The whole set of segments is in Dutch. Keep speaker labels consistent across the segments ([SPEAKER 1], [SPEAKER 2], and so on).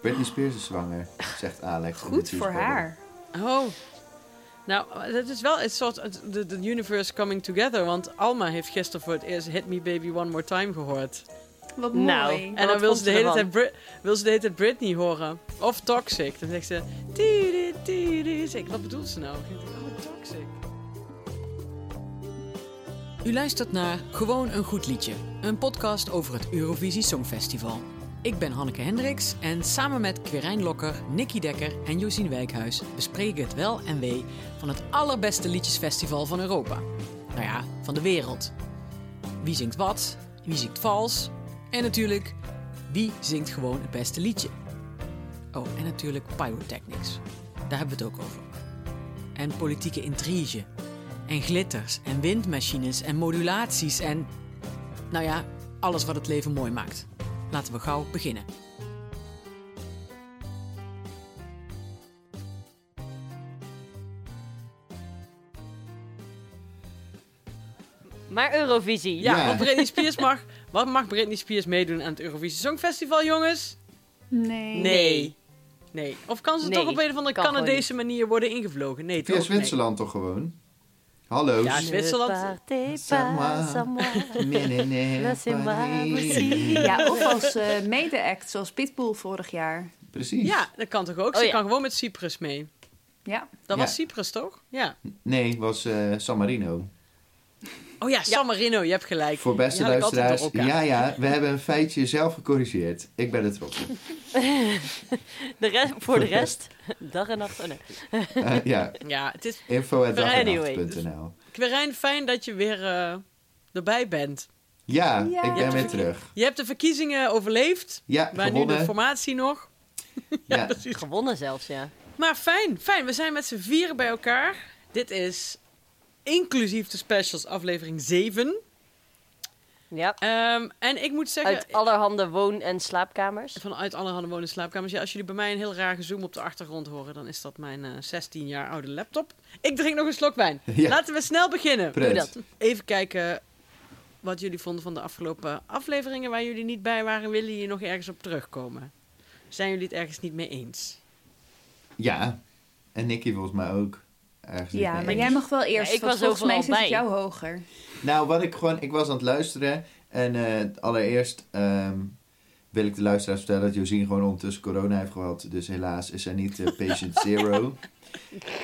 [SPEAKER 1] Britney Spears is zwanger, zegt Alex. in de
[SPEAKER 2] Goed voor
[SPEAKER 1] Cheeseburger.
[SPEAKER 2] haar.
[SPEAKER 3] Oh. Nou, het is wel een soort de de universe coming together. Want Alma heeft gisteren voor het eerst Hit Me Baby One More Time gehoord.
[SPEAKER 2] Wat mooi.
[SPEAKER 4] Nou,
[SPEAKER 3] En dan
[SPEAKER 4] Wat
[SPEAKER 3] wil
[SPEAKER 4] vond
[SPEAKER 3] ze,
[SPEAKER 4] ze
[SPEAKER 3] de hele tijd
[SPEAKER 4] ervan?
[SPEAKER 3] Brit- wil ze de hele tijd Britney horen. Of Toxic. Dan zegt ze... "Tiri, tiri." Ik, Wat bedoelt ze nou? Ik denk, Oh, Toxic.
[SPEAKER 5] U luistert naar Gewoon een goed liedje, een podcast over het Eurovisie Songfestival. Ik ben Hanneke Hendricks en samen met Quirijn Lokker, Nicky Dekker en Josien Wijkhuis bespreken we het wel en wee van het allerbeste liedjesfestival van Europa. Nou ja, van de wereld. Wie zingt wat, wie zingt vals en natuurlijk wie zingt gewoon het beste liedje. Oh, en natuurlijk pyrotechnics. Daar hebben we het ook over. En politieke intrige en glitters en windmachines en modulaties en... Nou ja, alles wat het leven mooi maakt. Laten we gauw beginnen.
[SPEAKER 4] Maar Eurovisie, ja.
[SPEAKER 3] Ja,
[SPEAKER 1] Ja.
[SPEAKER 3] want Britney Spears mag... Wat mag Britney Spears meedoen aan het Eurovisie Songfestival, jongens?
[SPEAKER 2] Nee.
[SPEAKER 3] Nee. Nee. Of kan ze
[SPEAKER 4] Nee,
[SPEAKER 3] toch op een of andere
[SPEAKER 4] kan gewoon
[SPEAKER 3] Canadese manier worden ingevlogen?
[SPEAKER 1] Via
[SPEAKER 3] Nee, toch? Nee.
[SPEAKER 1] Zwitserland toch gewoon? Hallo.
[SPEAKER 3] Ja, Zwitserland.
[SPEAKER 1] pas à Nee, nee, nee. Paris.
[SPEAKER 2] Ja, of als eh mede-act, zoals Pitbull vorig jaar.
[SPEAKER 1] Precies.
[SPEAKER 3] Ja, dat kan toch ook?
[SPEAKER 4] Oh,
[SPEAKER 3] Ze
[SPEAKER 4] ja.
[SPEAKER 3] kan gewoon met Cyprus mee.
[SPEAKER 2] Ja.
[SPEAKER 3] Dat
[SPEAKER 1] Ja.
[SPEAKER 3] was Cyprus, toch? Ja.
[SPEAKER 1] Nee, was eh, San Marino.
[SPEAKER 3] Oh ja, San Marino, je hebt gelijk.
[SPEAKER 1] Voor beste
[SPEAKER 3] Die had ik altijd
[SPEAKER 1] luisteraars.
[SPEAKER 3] door elkaar.
[SPEAKER 1] Ja, ja, we hebben een feitje zelf gecorrigeerd. Ik ben het trots op.
[SPEAKER 4] De rest, voor de rest, dag en nacht. Oh, nee.
[SPEAKER 1] Eh, ja,
[SPEAKER 3] Ja, het is...
[SPEAKER 1] info.dagenacht.nl
[SPEAKER 3] Quirijn, fijn dat je weer eh, erbij bent.
[SPEAKER 1] Ja,
[SPEAKER 2] Ja.
[SPEAKER 1] ik
[SPEAKER 2] Je
[SPEAKER 1] ben
[SPEAKER 2] hebt
[SPEAKER 1] weer
[SPEAKER 3] de
[SPEAKER 1] terug.
[SPEAKER 3] Je hebt de verkiezingen overleefd.
[SPEAKER 1] Ja,
[SPEAKER 3] Maar nu de
[SPEAKER 1] gewonnen.
[SPEAKER 3] formatie nog.
[SPEAKER 1] ja,
[SPEAKER 4] Gewonnen zelfs, ja.
[SPEAKER 3] Maar fijn, fijn. We zijn met z'n vieren bij elkaar. Dit is inclusief de specials aflevering 7.
[SPEAKER 4] ja.
[SPEAKER 3] Ehm, en ik moet zeggen...
[SPEAKER 4] Uit allerhande woon- en slaapkamers.
[SPEAKER 3] Vanuit allerhande wonen slaapkamers. Ja, als jullie bij mij een heel raar gezoom op de achtergrond horen, dan is dat mijn eh, 16 jaar oude laptop. Ik drink nog een slok wijn.
[SPEAKER 1] Ja.
[SPEAKER 3] Laten we snel beginnen.
[SPEAKER 1] pret.
[SPEAKER 4] dat.
[SPEAKER 3] Even kijken wat jullie vonden van de afgelopen afleveringen waar jullie niet bij waren. Willen jullie nog ergens op terugkomen? Zijn jullie het ergens niet mee eens?
[SPEAKER 1] Ja, en Nicky volgens mij ook. Ergens niet
[SPEAKER 2] Ja,
[SPEAKER 1] mee
[SPEAKER 2] maar
[SPEAKER 1] eens.
[SPEAKER 2] jij mag wel eerst,
[SPEAKER 4] Ja, ik
[SPEAKER 2] want
[SPEAKER 4] was
[SPEAKER 2] volgens mij
[SPEAKER 4] overal
[SPEAKER 2] zit het
[SPEAKER 4] bij.
[SPEAKER 2] jou hoger.
[SPEAKER 1] Nou, wat ik gewoon... Ik was aan het luisteren. En eh, allereerst ehm, wil ik de luisteraars vertellen... dat Josien gewoon ondertussen corona heeft gehad. Dus helaas is zij niet eh, patient zero.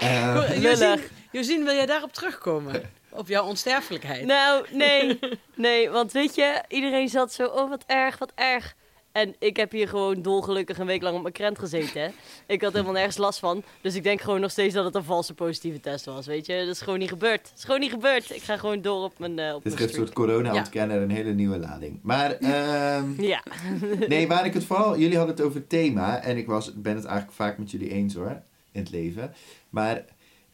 [SPEAKER 1] Ehm,
[SPEAKER 3] Goed, Josien, Josien, wil jij daarop terugkomen? Op jouw onsterfelijkheid?
[SPEAKER 4] Nou, nee. Nee, want weet je, iedereen zat zo, oh wat erg, wat erg. En ik heb hier gewoon dolgelukkig een week lang op mijn krent gezeten. Hè. Ik had helemaal nergens last van. Dus ik denk gewoon nog steeds dat het een valse positieve test was, weet je. Dat is gewoon niet gebeurd. Dat is gewoon niet gebeurd. Ik ga gewoon door op mijn, eh op
[SPEAKER 1] dit
[SPEAKER 4] mijn
[SPEAKER 1] geeft een
[SPEAKER 4] streak.
[SPEAKER 1] soort corona-ontkenner een hele nieuwe lading. Maar... ehm,
[SPEAKER 4] Ja.
[SPEAKER 1] Nee, waar ik het vooral... Jullie hadden het over het thema. En ik was, ben het eigenlijk vaak met jullie eens hoor. In het leven. Maar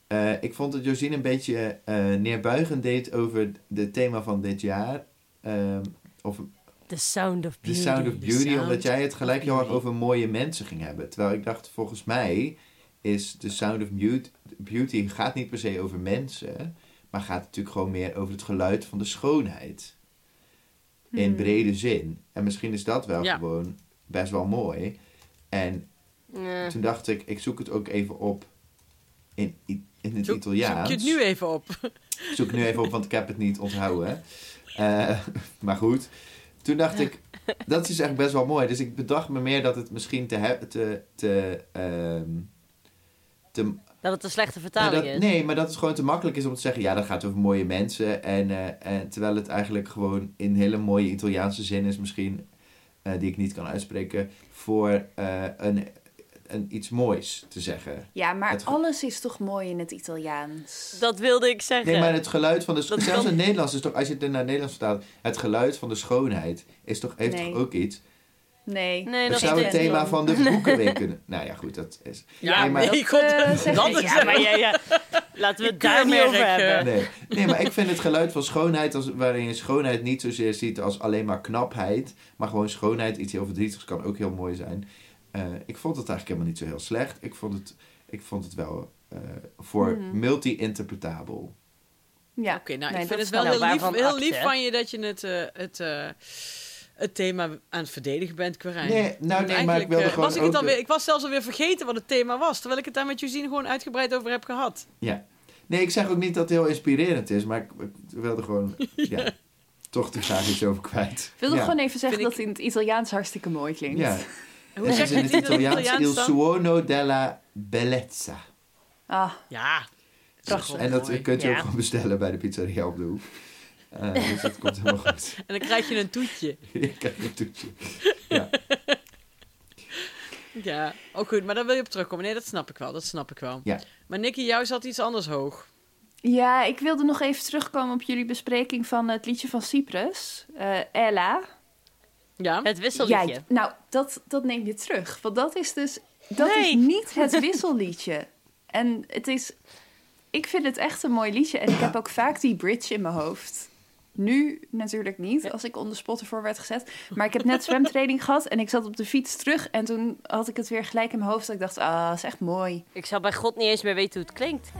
[SPEAKER 1] eh, ik vond dat Josine een beetje eh neerbuigend deed over het thema van dit jaar. Ehm, of
[SPEAKER 4] The Sound of
[SPEAKER 1] The
[SPEAKER 4] Beauty.
[SPEAKER 1] Sound of
[SPEAKER 3] The
[SPEAKER 1] Beauty.
[SPEAKER 3] Sound
[SPEAKER 1] omdat jij het gelijk
[SPEAKER 3] of
[SPEAKER 1] heel erg
[SPEAKER 3] Beauty.
[SPEAKER 1] over mooie mensen ging hebben. Terwijl ik dacht, volgens mij is The Sound of Mute- Beauty gaat niet per se over mensen. Maar gaat natuurlijk gewoon meer over het geluid van de schoonheid. In brede zin. En misschien is dat wel
[SPEAKER 3] Hmm. Ja.
[SPEAKER 1] gewoon best wel mooi. En
[SPEAKER 4] Ja.
[SPEAKER 1] toen dacht ik, ik zoek het ook even op in, I- in het
[SPEAKER 3] Zoek-
[SPEAKER 1] Italiaans.
[SPEAKER 3] Zoek je het nu even op.
[SPEAKER 1] Zoek nu even op, want ik heb het niet onthouden. Eh, maar goed, toen dacht ik, dat is eigenlijk best wel mooi. Dus ik bedacht me meer dat het misschien te... he- te, te, ehm, te
[SPEAKER 4] Dat het een slechte
[SPEAKER 1] nou,
[SPEAKER 4] vertaling
[SPEAKER 1] dat-
[SPEAKER 4] is.
[SPEAKER 1] nee, maar dat het gewoon te makkelijk is om te zeggen... ja, dat gaat over mooie mensen. En, eh, en terwijl het eigenlijk gewoon in hele mooie Italiaanse zin is misschien... eh, die ik niet kan uitspreken... voor eh, een, een, iets moois te zeggen.
[SPEAKER 2] Ja, maar
[SPEAKER 1] Het ge-
[SPEAKER 2] alles is toch mooi in het Italiaans?
[SPEAKER 4] Dat wilde ik zeggen.
[SPEAKER 1] Nee, maar het geluid van de...
[SPEAKER 4] Dat
[SPEAKER 1] Zelfs in
[SPEAKER 4] kan-
[SPEAKER 1] het Nederlands is toch... Als je het naar het Nederlands vertaalt... Het geluid van de schoonheid is toch, heeft
[SPEAKER 2] Nee.
[SPEAKER 1] toch ook iets?
[SPEAKER 2] Nee.
[SPEAKER 4] Nee,
[SPEAKER 1] dat
[SPEAKER 4] dat
[SPEAKER 1] zou
[SPEAKER 4] is
[SPEAKER 1] het
[SPEAKER 4] het
[SPEAKER 1] thema
[SPEAKER 2] niet.
[SPEAKER 1] van de boekenweek kunnen... Nou ja, goed, dat is...
[SPEAKER 3] Ja,
[SPEAKER 1] Nee, maar-
[SPEAKER 3] nee,
[SPEAKER 2] dat,
[SPEAKER 3] god,
[SPEAKER 2] eh,
[SPEAKER 3] dat,
[SPEAKER 2] zeg ik.
[SPEAKER 3] is
[SPEAKER 4] Ja, maar ja, ja. Laten we het daar niet over
[SPEAKER 3] keurmerk, eh,
[SPEAKER 4] hebben.
[SPEAKER 1] Nee. nee, maar ik vind het geluid van schoonheid... Als, waarin je schoonheid niet zozeer ziet als alleen maar knapheid... maar gewoon schoonheid, iets heel verdrietigs... kan ook heel mooi zijn. Eh, ik vond het eigenlijk helemaal niet zo heel slecht. Ik vond het, ik vond het wel eh, voor
[SPEAKER 2] Mhm.
[SPEAKER 1] multi-interpretabel.
[SPEAKER 2] Ja.
[SPEAKER 3] Oké, nou,
[SPEAKER 2] Nee, dat
[SPEAKER 3] ik vind het
[SPEAKER 2] is
[SPEAKER 3] wel
[SPEAKER 4] wel
[SPEAKER 3] heel, lief,
[SPEAKER 4] waarvan
[SPEAKER 3] heel
[SPEAKER 4] acte,
[SPEAKER 3] lief
[SPEAKER 4] hè?
[SPEAKER 3] van je dat je het, eh, het eh, het thema aan het verdedigen bent, Quirijn.
[SPEAKER 1] Nee, nou
[SPEAKER 3] Want
[SPEAKER 1] nee, maar ik
[SPEAKER 3] eigenlijk,
[SPEAKER 1] wilde
[SPEAKER 3] eh,
[SPEAKER 1] gewoon
[SPEAKER 3] was ik, het
[SPEAKER 1] ook-
[SPEAKER 3] alweer, ik was zelfs alweer vergeten wat het thema was, terwijl ik het daar met Josine gewoon uitgebreid over heb gehad.
[SPEAKER 1] Ja. Nee, ik zeg ook niet dat het heel inspirerend is, maar ik, ik wilde gewoon ja, toch te graag iets over kwijt.
[SPEAKER 2] Ik wilde
[SPEAKER 1] ja.
[SPEAKER 2] gewoon even zeggen
[SPEAKER 3] Vind
[SPEAKER 2] dat
[SPEAKER 3] ik-
[SPEAKER 2] het in het Italiaans hartstikke mooi klinkt.
[SPEAKER 1] Ja,
[SPEAKER 3] Hoe
[SPEAKER 1] het
[SPEAKER 3] zeg
[SPEAKER 1] is
[SPEAKER 3] je
[SPEAKER 1] in het
[SPEAKER 3] in het
[SPEAKER 1] Italiaans Il
[SPEAKER 3] dan?
[SPEAKER 1] suono della bellezza. Dus,
[SPEAKER 2] Ah,
[SPEAKER 3] Ja,
[SPEAKER 2] prachtig.
[SPEAKER 1] en dat
[SPEAKER 3] mooi.
[SPEAKER 1] kunt u
[SPEAKER 3] Ja.
[SPEAKER 1] ook gewoon bestellen bij de pizzeria op de hoek. Eh, dus dat komt helemaal goed.
[SPEAKER 3] en dan krijg je een toetje.
[SPEAKER 1] ik heb een toetje.
[SPEAKER 3] Ja, ook goed, maar daar wil je op terugkomen. Nee, dat snap ik wel, dat snap ik wel.
[SPEAKER 1] Ja.
[SPEAKER 3] Maar Nicky, jou zat iets anders hoog.
[SPEAKER 2] Ja, ik wilde nog even terugkomen op jullie bespreking van het liedje van Cyprus, eh, Ella.
[SPEAKER 3] Ja?
[SPEAKER 4] Het wisselliedje.
[SPEAKER 2] Ja, nou, dat, dat neem je terug. Want dat is dus. Dat
[SPEAKER 4] Nee.
[SPEAKER 2] is niet het wisselliedje. En het is. Ik vind het echt een mooi liedje. En ik heb ook vaak die bridge in mijn hoofd. Nu natuurlijk niet, als ik onder spot ervoor werd gezet. Maar ik heb net zwemtraining gehad en ik zat op de fiets terug. En toen had ik het weer gelijk in mijn hoofd. Dat ik dacht, ah, is echt mooi.
[SPEAKER 4] Ik zou bij God niet eens meer weten hoe het klinkt.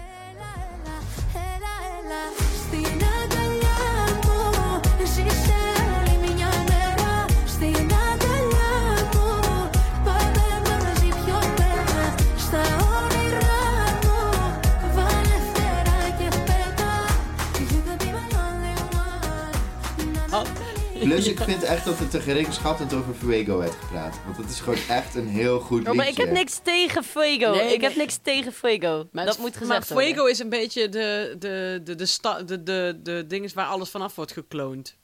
[SPEAKER 1] Plus, ik vind echt dat we te geringschattend over Fuego hebben gepraat. Want dat is gewoon echt een heel goed liedje.
[SPEAKER 4] Oh, maar ik heb niks tegen Fuego.
[SPEAKER 3] Nee,
[SPEAKER 4] ik
[SPEAKER 3] nee.
[SPEAKER 4] heb niks tegen Fuego.
[SPEAKER 3] Maar
[SPEAKER 4] dat
[SPEAKER 3] het-
[SPEAKER 4] moet gezegd
[SPEAKER 3] Maar
[SPEAKER 4] worden.
[SPEAKER 3] Fuego is een beetje de, de, de, de, sta, de, de, de dingen waar alles vanaf wordt gekloond.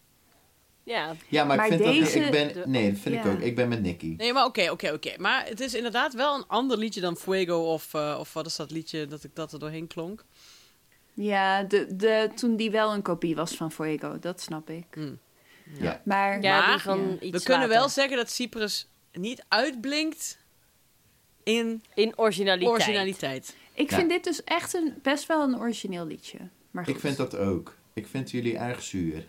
[SPEAKER 4] Ja.
[SPEAKER 1] Ja, maar,
[SPEAKER 2] Maar
[SPEAKER 1] ik vind
[SPEAKER 2] deze-
[SPEAKER 1] dat... Ik ben, nee, dat vind ik
[SPEAKER 2] Ja.
[SPEAKER 1] ook. Ik ben met Nicky.
[SPEAKER 3] Nee, maar oké, oké, oké. Maar het is inderdaad wel een ander liedje dan Fuego of, eh, of wat is dat liedje dat ik dat er doorheen klonk.
[SPEAKER 2] Ja, de, de, toen die wel een kopie was van Fuego, dat snap ik.
[SPEAKER 3] Mm.
[SPEAKER 1] Ja.
[SPEAKER 2] Maar
[SPEAKER 4] Ja,
[SPEAKER 3] Maar-
[SPEAKER 4] die van
[SPEAKER 2] Ja.
[SPEAKER 4] iets
[SPEAKER 3] We kunnen
[SPEAKER 4] later.
[SPEAKER 3] wel zeggen dat Cyprus niet uitblinkt in
[SPEAKER 4] In originaliteit.
[SPEAKER 3] originaliteit.
[SPEAKER 2] ik
[SPEAKER 1] Ja.
[SPEAKER 2] vind dit dus echt een, best wel een origineel liedje. Maar
[SPEAKER 1] Ik
[SPEAKER 2] goed.
[SPEAKER 1] vind dat ook. Ik vind jullie erg zuur.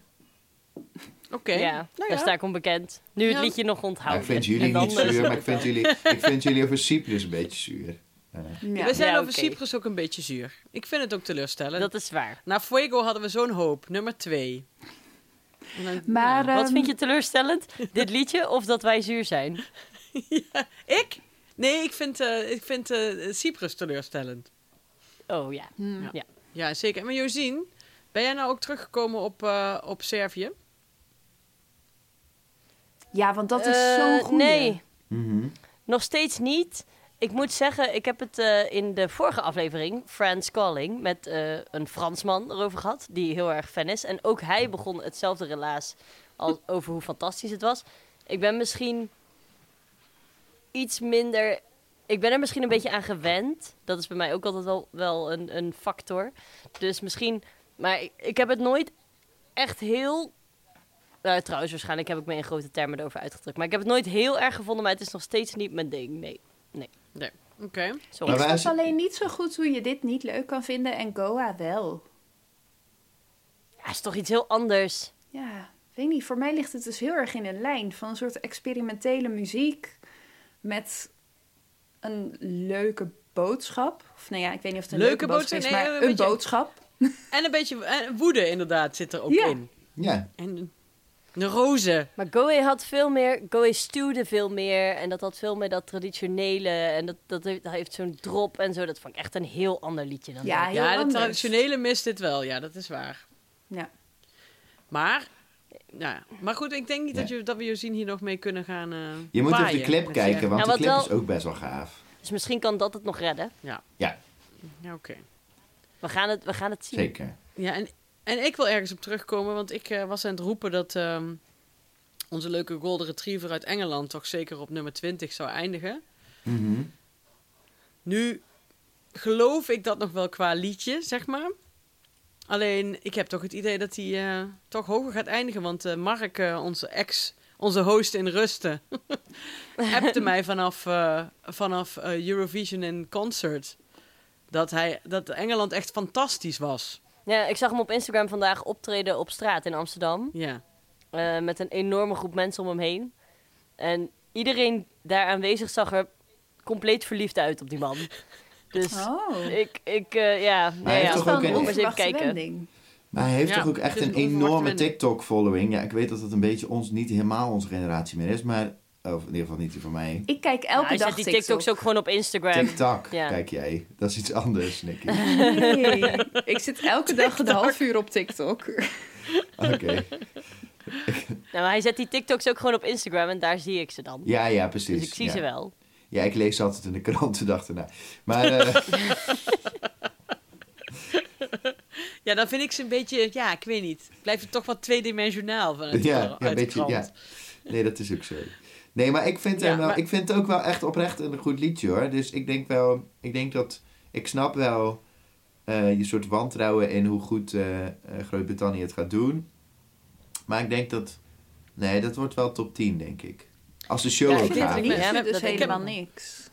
[SPEAKER 3] Oké.
[SPEAKER 4] Ja,
[SPEAKER 3] Nou
[SPEAKER 4] daar sta ik onbekend. Nu het
[SPEAKER 3] Ja.
[SPEAKER 4] liedje nog
[SPEAKER 1] Maar
[SPEAKER 4] onthouden.
[SPEAKER 1] ik vind
[SPEAKER 4] En
[SPEAKER 1] jullie
[SPEAKER 4] dan,
[SPEAKER 1] niet
[SPEAKER 4] eh,
[SPEAKER 1] zuur, maar ik vind jullie, ik vind jullie over Cyprus een beetje zuur.
[SPEAKER 2] Ja.
[SPEAKER 3] We zijn
[SPEAKER 4] Ja,
[SPEAKER 3] over
[SPEAKER 4] oké.
[SPEAKER 3] Cyprus ook een beetje zuur. Ik vind het ook teleurstellend.
[SPEAKER 4] Dat is waar.
[SPEAKER 3] Na Fuego hadden we zo'n hoop. Nummer twee. En dan-
[SPEAKER 2] Maar,
[SPEAKER 3] ja.
[SPEAKER 2] eh,
[SPEAKER 4] Wat vind je teleurstellend? Dit liedje of dat wij zuur zijn?
[SPEAKER 3] Ik? Nee, ik vind, eh, ik vind eh, Cyprus teleurstellend.
[SPEAKER 4] Oh ja.
[SPEAKER 2] Hmm.
[SPEAKER 3] Ja, zeker. Maar Josien, ben jij nou ook teruggekomen op, eh, op Servië?
[SPEAKER 2] Ja, want dat is
[SPEAKER 4] Eh,
[SPEAKER 2] zo'n goede.
[SPEAKER 4] Nee,
[SPEAKER 1] Mhm.
[SPEAKER 4] nog steeds niet. Ik moet zeggen, ik heb het eh, in de vorige aflevering, Friends Calling, met eh, een Fransman erover gehad, die heel erg fan is. En ook hij begon hetzelfde relaas al over hoe fantastisch het was. Ik ben misschien iets minder. Ik ben er misschien een beetje aan gewend. Dat is bij mij ook altijd wel, wel een, een factor. Dus misschien. Maar ik, ik heb het nooit echt heel. Nou, trouwens, waarschijnlijk heb ik me in grote termen erover uitgedrukt. Maar ik heb het nooit heel erg gevonden, maar het is nog steeds niet mijn ding. Nee,
[SPEAKER 3] Oké.
[SPEAKER 4] sorry.
[SPEAKER 1] Maar
[SPEAKER 2] Ik
[SPEAKER 1] wij-
[SPEAKER 2] snap alleen niet zo goed hoe je dit niet leuk kan vinden en Goa wel.
[SPEAKER 4] Ja, is toch iets heel anders.
[SPEAKER 2] Ja, weet niet. Voor mij ligt het dus heel erg in een lijn van een soort experimentele muziek met een leuke boodschap. Of nou ja, ik weet niet of het een leuke,
[SPEAKER 3] Leuke
[SPEAKER 2] boodschap is,
[SPEAKER 3] boodschap?
[SPEAKER 2] maar
[SPEAKER 3] Nee, een
[SPEAKER 2] een
[SPEAKER 3] beetje-
[SPEAKER 2] boodschap.
[SPEAKER 3] En een beetje en woede inderdaad zit er ook
[SPEAKER 2] Ja.
[SPEAKER 3] in.
[SPEAKER 1] Ja,
[SPEAKER 3] En neurose.
[SPEAKER 4] Maar Goe had veel meer, Goe stuwde veel meer. En dat had veel meer dat traditionele. En dat, dat heeft, dat heeft zo'n drop en zo. Dat vond ik echt een heel ander liedje dan
[SPEAKER 2] Ja,
[SPEAKER 4] dat.
[SPEAKER 2] Ah, heel
[SPEAKER 3] ja, de
[SPEAKER 2] anders.
[SPEAKER 3] traditionele mist dit wel. Ja, dat is waar.
[SPEAKER 2] Ja.
[SPEAKER 3] Maar, ja. maar goed, ik denk niet dat,
[SPEAKER 1] Ja.
[SPEAKER 3] je, dat we Josien hier nog mee kunnen gaan eh
[SPEAKER 1] je moet even
[SPEAKER 3] paaien.
[SPEAKER 1] de clip kijken, want
[SPEAKER 4] Ja,
[SPEAKER 1] de
[SPEAKER 4] wat
[SPEAKER 1] clip
[SPEAKER 4] wel-
[SPEAKER 1] is ook best wel gaaf.
[SPEAKER 4] Dus misschien kan dat het nog redden.
[SPEAKER 1] Ja,
[SPEAKER 3] Ja, oké.
[SPEAKER 4] We gaan het, we gaan het zien.
[SPEAKER 1] zeker.
[SPEAKER 3] Ja, en, en ik wil ergens op terugkomen, want ik eh, was aan het roepen dat ehm, onze leuke Golden Retriever uit Engeland toch zeker op nummer 20 zou eindigen.
[SPEAKER 1] Mhm.
[SPEAKER 3] Nu geloof ik dat nog wel qua liedje, zeg maar. Alleen, ik heb toch het idee dat hij eh, toch hoger gaat eindigen. Want eh, Mark, eh, onze ex, onze host in rusten, appte mij vanaf, eh, vanaf eh, Eurovision in concert. Dat, hij, dat Engeland echt fantastisch was.
[SPEAKER 4] Ja, ik zag hem op Instagram vandaag optreden op straat in Amsterdam.
[SPEAKER 3] Ja.
[SPEAKER 4] eh, met een enorme groep mensen om hem heen. En iedereen daar aanwezig zag er compleet verliefd uit op die man. Dus
[SPEAKER 2] Oh.
[SPEAKER 4] ik, ik eh, ja.
[SPEAKER 1] hij
[SPEAKER 4] ja,
[SPEAKER 1] heeft
[SPEAKER 4] ja.
[SPEAKER 1] toch ook een-
[SPEAKER 4] Moet eens even
[SPEAKER 2] onverwachte
[SPEAKER 4] kijken.
[SPEAKER 2] wending.
[SPEAKER 1] Maar hij heeft
[SPEAKER 3] Ja,
[SPEAKER 1] toch ook
[SPEAKER 3] het
[SPEAKER 1] echt
[SPEAKER 3] is
[SPEAKER 1] een
[SPEAKER 3] een onverwachte
[SPEAKER 1] enorme
[SPEAKER 3] wending.
[SPEAKER 1] TikTok-following. Ja, ik weet dat dat een beetje ons, niet helemaal onze generatie meer is, maar... Of in ieder geval niet die van mij.
[SPEAKER 2] Ik kijk elke
[SPEAKER 4] hij
[SPEAKER 2] dag
[SPEAKER 4] zet Nou, die
[SPEAKER 2] TikTok.
[SPEAKER 4] TikToks ook gewoon op Instagram.
[SPEAKER 1] TikTok,
[SPEAKER 4] Ja.
[SPEAKER 1] kijk jij. Dat is iets anders, Nicky.
[SPEAKER 2] Nee. Ik zit elke dag een half uur op TikTok.
[SPEAKER 1] Oké.
[SPEAKER 4] Nou, maar hij zet die TikToks ook gewoon op Instagram en daar zie ik ze dan.
[SPEAKER 1] Ja, ja, precies.
[SPEAKER 4] dus ik zie
[SPEAKER 1] ja.
[SPEAKER 4] ze wel.
[SPEAKER 1] Ja, ik lees ze altijd in de krant de dag erna. Maar eh,
[SPEAKER 3] Ja, dan vind ik ze een beetje, ja, ik weet niet. Blijft het toch wat tweedimensionaal
[SPEAKER 4] eh,
[SPEAKER 3] vanuit
[SPEAKER 1] ja,
[SPEAKER 3] de,
[SPEAKER 1] ja, een beetje, ja. Nee, dat is ook zo. Nee, maar ik vind, hem
[SPEAKER 3] Ja,
[SPEAKER 1] wel,
[SPEAKER 3] maar-
[SPEAKER 1] ik vind het ook wel echt oprecht een goed liedje, hoor. Dus ik denk wel... Ik denk dat... Ik snap wel eh, je soort wantrouwen in hoe goed eh, eh, Groot-Brittannië het gaat doen. Maar ik denk dat... Nee, dat wordt wel top 10, denk ik. Als de show
[SPEAKER 3] Ja, ik
[SPEAKER 1] ook
[SPEAKER 2] Ik
[SPEAKER 3] vind
[SPEAKER 1] gaat.
[SPEAKER 2] vind
[SPEAKER 3] het
[SPEAKER 2] dit
[SPEAKER 3] niet.
[SPEAKER 2] liedje
[SPEAKER 4] Ja, dat
[SPEAKER 2] dus
[SPEAKER 4] denk ik.
[SPEAKER 2] helemaal niks.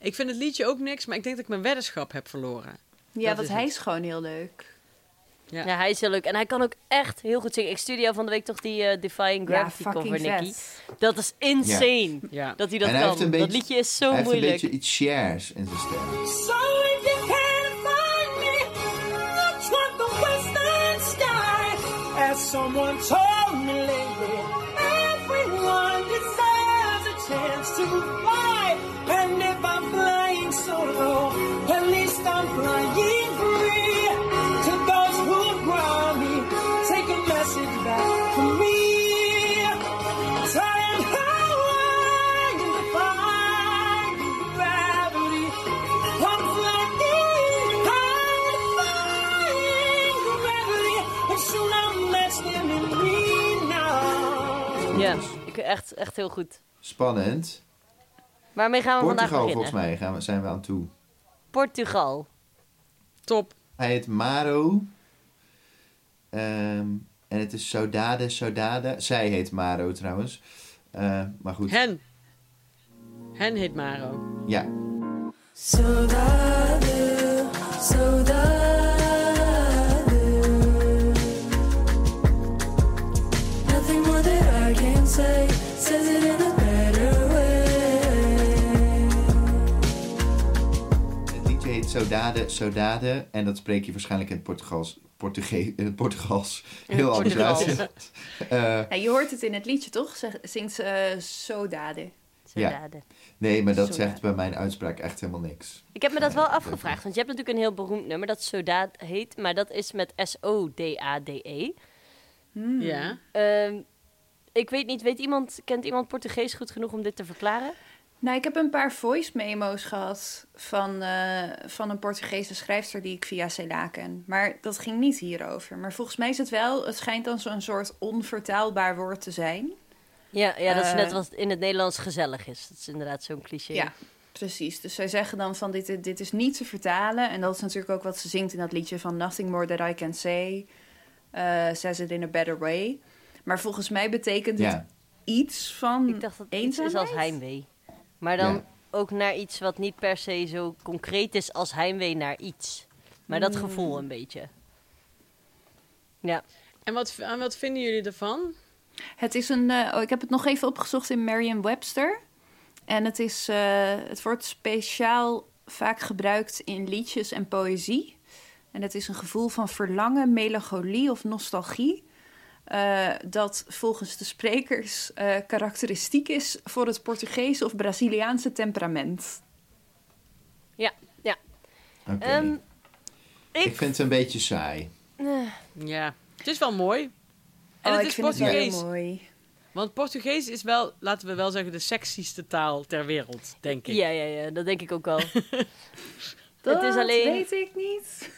[SPEAKER 3] Ik vind het liedje ook niks, maar ik denk dat ik mijn weddenschap heb verloren.
[SPEAKER 2] Ja,
[SPEAKER 3] Dat
[SPEAKER 2] want
[SPEAKER 3] is
[SPEAKER 2] hij
[SPEAKER 3] het.
[SPEAKER 2] is gewoon heel leuk.
[SPEAKER 3] Ja.
[SPEAKER 4] Ja. hij is heel leuk. En hij kan ook echt heel goed zingen. Ik stuurde jou van de week toch die eh, Defying
[SPEAKER 2] Ja,
[SPEAKER 4] Gravity
[SPEAKER 2] fucking
[SPEAKER 4] cover, Nicky.
[SPEAKER 2] vet.
[SPEAKER 4] Dat is insane.
[SPEAKER 3] Ja.
[SPEAKER 4] Dat hij dat
[SPEAKER 1] En hij
[SPEAKER 4] kan.
[SPEAKER 1] heeft een beetje-
[SPEAKER 4] dat liedje is zo
[SPEAKER 1] Hij heeft een
[SPEAKER 4] moeilijk.
[SPEAKER 1] beetje iets shares in zijn stem.
[SPEAKER 6] So if you can't find me, look toward the western sky. As someone told me lately, everyone deserves a chance to fly. And if I'm flying solo, at least I'm flying free. To those who ground me, take a message back from me. Time how I defy gravity. I'm flying high, defying gravity, and soon I'm lost in me now.
[SPEAKER 4] Ja, ik, echt, echt heel goed.
[SPEAKER 1] Spannend.
[SPEAKER 4] Waarmee gaan we vandaag
[SPEAKER 1] Portugal,
[SPEAKER 4] beginnen?
[SPEAKER 1] volgens mij, gaan we, zijn we aan toe.
[SPEAKER 4] Portugal.
[SPEAKER 3] Top.
[SPEAKER 1] Hij heet Maro. Ehm, en het is Saudade, Saudade. Zij heet Maro trouwens. Eh, maar goed.
[SPEAKER 3] Hen. Hen heet Maro.
[SPEAKER 1] Ja.
[SPEAKER 6] Saudade, saudade. Nothing more that I can say says it in a better way.
[SPEAKER 1] Het liedje heet Saudade, Saudade. En dat spreek je waarschijnlijk in het Portugals, Portugees, in het Portugals heel anders
[SPEAKER 4] Portugals.
[SPEAKER 1] uit. Eh,
[SPEAKER 2] Nou, je hoort het in het liedje, toch? Zeg- Zingt ze eh, Sodade.
[SPEAKER 1] Ja.
[SPEAKER 4] Saudade.
[SPEAKER 1] nee, maar dat
[SPEAKER 2] Saudade.
[SPEAKER 1] zegt bij mijn uitspraak echt helemaal niks.
[SPEAKER 4] Ik heb me dat wel afgevraagd, want je hebt natuurlijk een heel beroemd nummer dat Sodaat heet, maar dat is met S-O-D-A-D-E.
[SPEAKER 3] Ja.
[SPEAKER 4] E. Ehm, ik weet niet, weet iemand, kent iemand Portugees goed genoeg om dit te verklaren?
[SPEAKER 2] Nou, ik heb een paar voice memo's gehad van, eh, van een Portugese schrijfster die ik via Cela ken. Maar dat ging niet hierover. Maar volgens mij is het wel, het schijnt dan zo'n soort onvertaalbaar woord te zijn.
[SPEAKER 4] Ja, ja dat is
[SPEAKER 2] Eh.
[SPEAKER 4] net wat in het Nederlands gezellig is. Dat is inderdaad zo'n cliché.
[SPEAKER 2] Ja, precies. Dus zij zeggen dan van dit, dit is niet te vertalen. En dat is natuurlijk ook wat ze zingt in dat liedje van Nothing More That I Can Say. eh says it in a better way. Maar volgens mij betekent het
[SPEAKER 1] Ja.
[SPEAKER 2] iets van
[SPEAKER 4] Ik dacht dat iets is
[SPEAKER 2] eenzaamheid.
[SPEAKER 4] als heimwee. Maar dan
[SPEAKER 1] Ja.
[SPEAKER 4] ook naar iets wat niet per se zo concreet is als heimwee naar iets. Maar dat gevoel een beetje. Ja,
[SPEAKER 3] En wat, en wat vinden jullie ervan?
[SPEAKER 2] Het is een. eh, oh, ik heb het nog even opgezocht in Merriam-Webster. En het, is, eh, het wordt speciaal vaak gebruikt in liedjes en poëzie. En het is een gevoel van verlangen, melancholie of nostalgie. eh, dat volgens de sprekers eh, karakteristiek is voor het Portugese of Braziliaanse temperament.
[SPEAKER 4] ja, ja.
[SPEAKER 1] Oké.
[SPEAKER 4] Ehm, ik,
[SPEAKER 1] ik vind het een beetje saai.
[SPEAKER 3] Ja. Het is wel mooi. En
[SPEAKER 2] Oh,
[SPEAKER 3] het
[SPEAKER 2] ik
[SPEAKER 3] is
[SPEAKER 2] vind het
[SPEAKER 3] Portugees.
[SPEAKER 2] heel mooi.
[SPEAKER 3] Want Portugees is wel, laten we wel zeggen, de sexieste taal ter wereld, denk ik.
[SPEAKER 4] ja, ja, ja, dat denk ik ook wel.
[SPEAKER 2] Dat
[SPEAKER 4] het is alleen.
[SPEAKER 2] weet ik niet.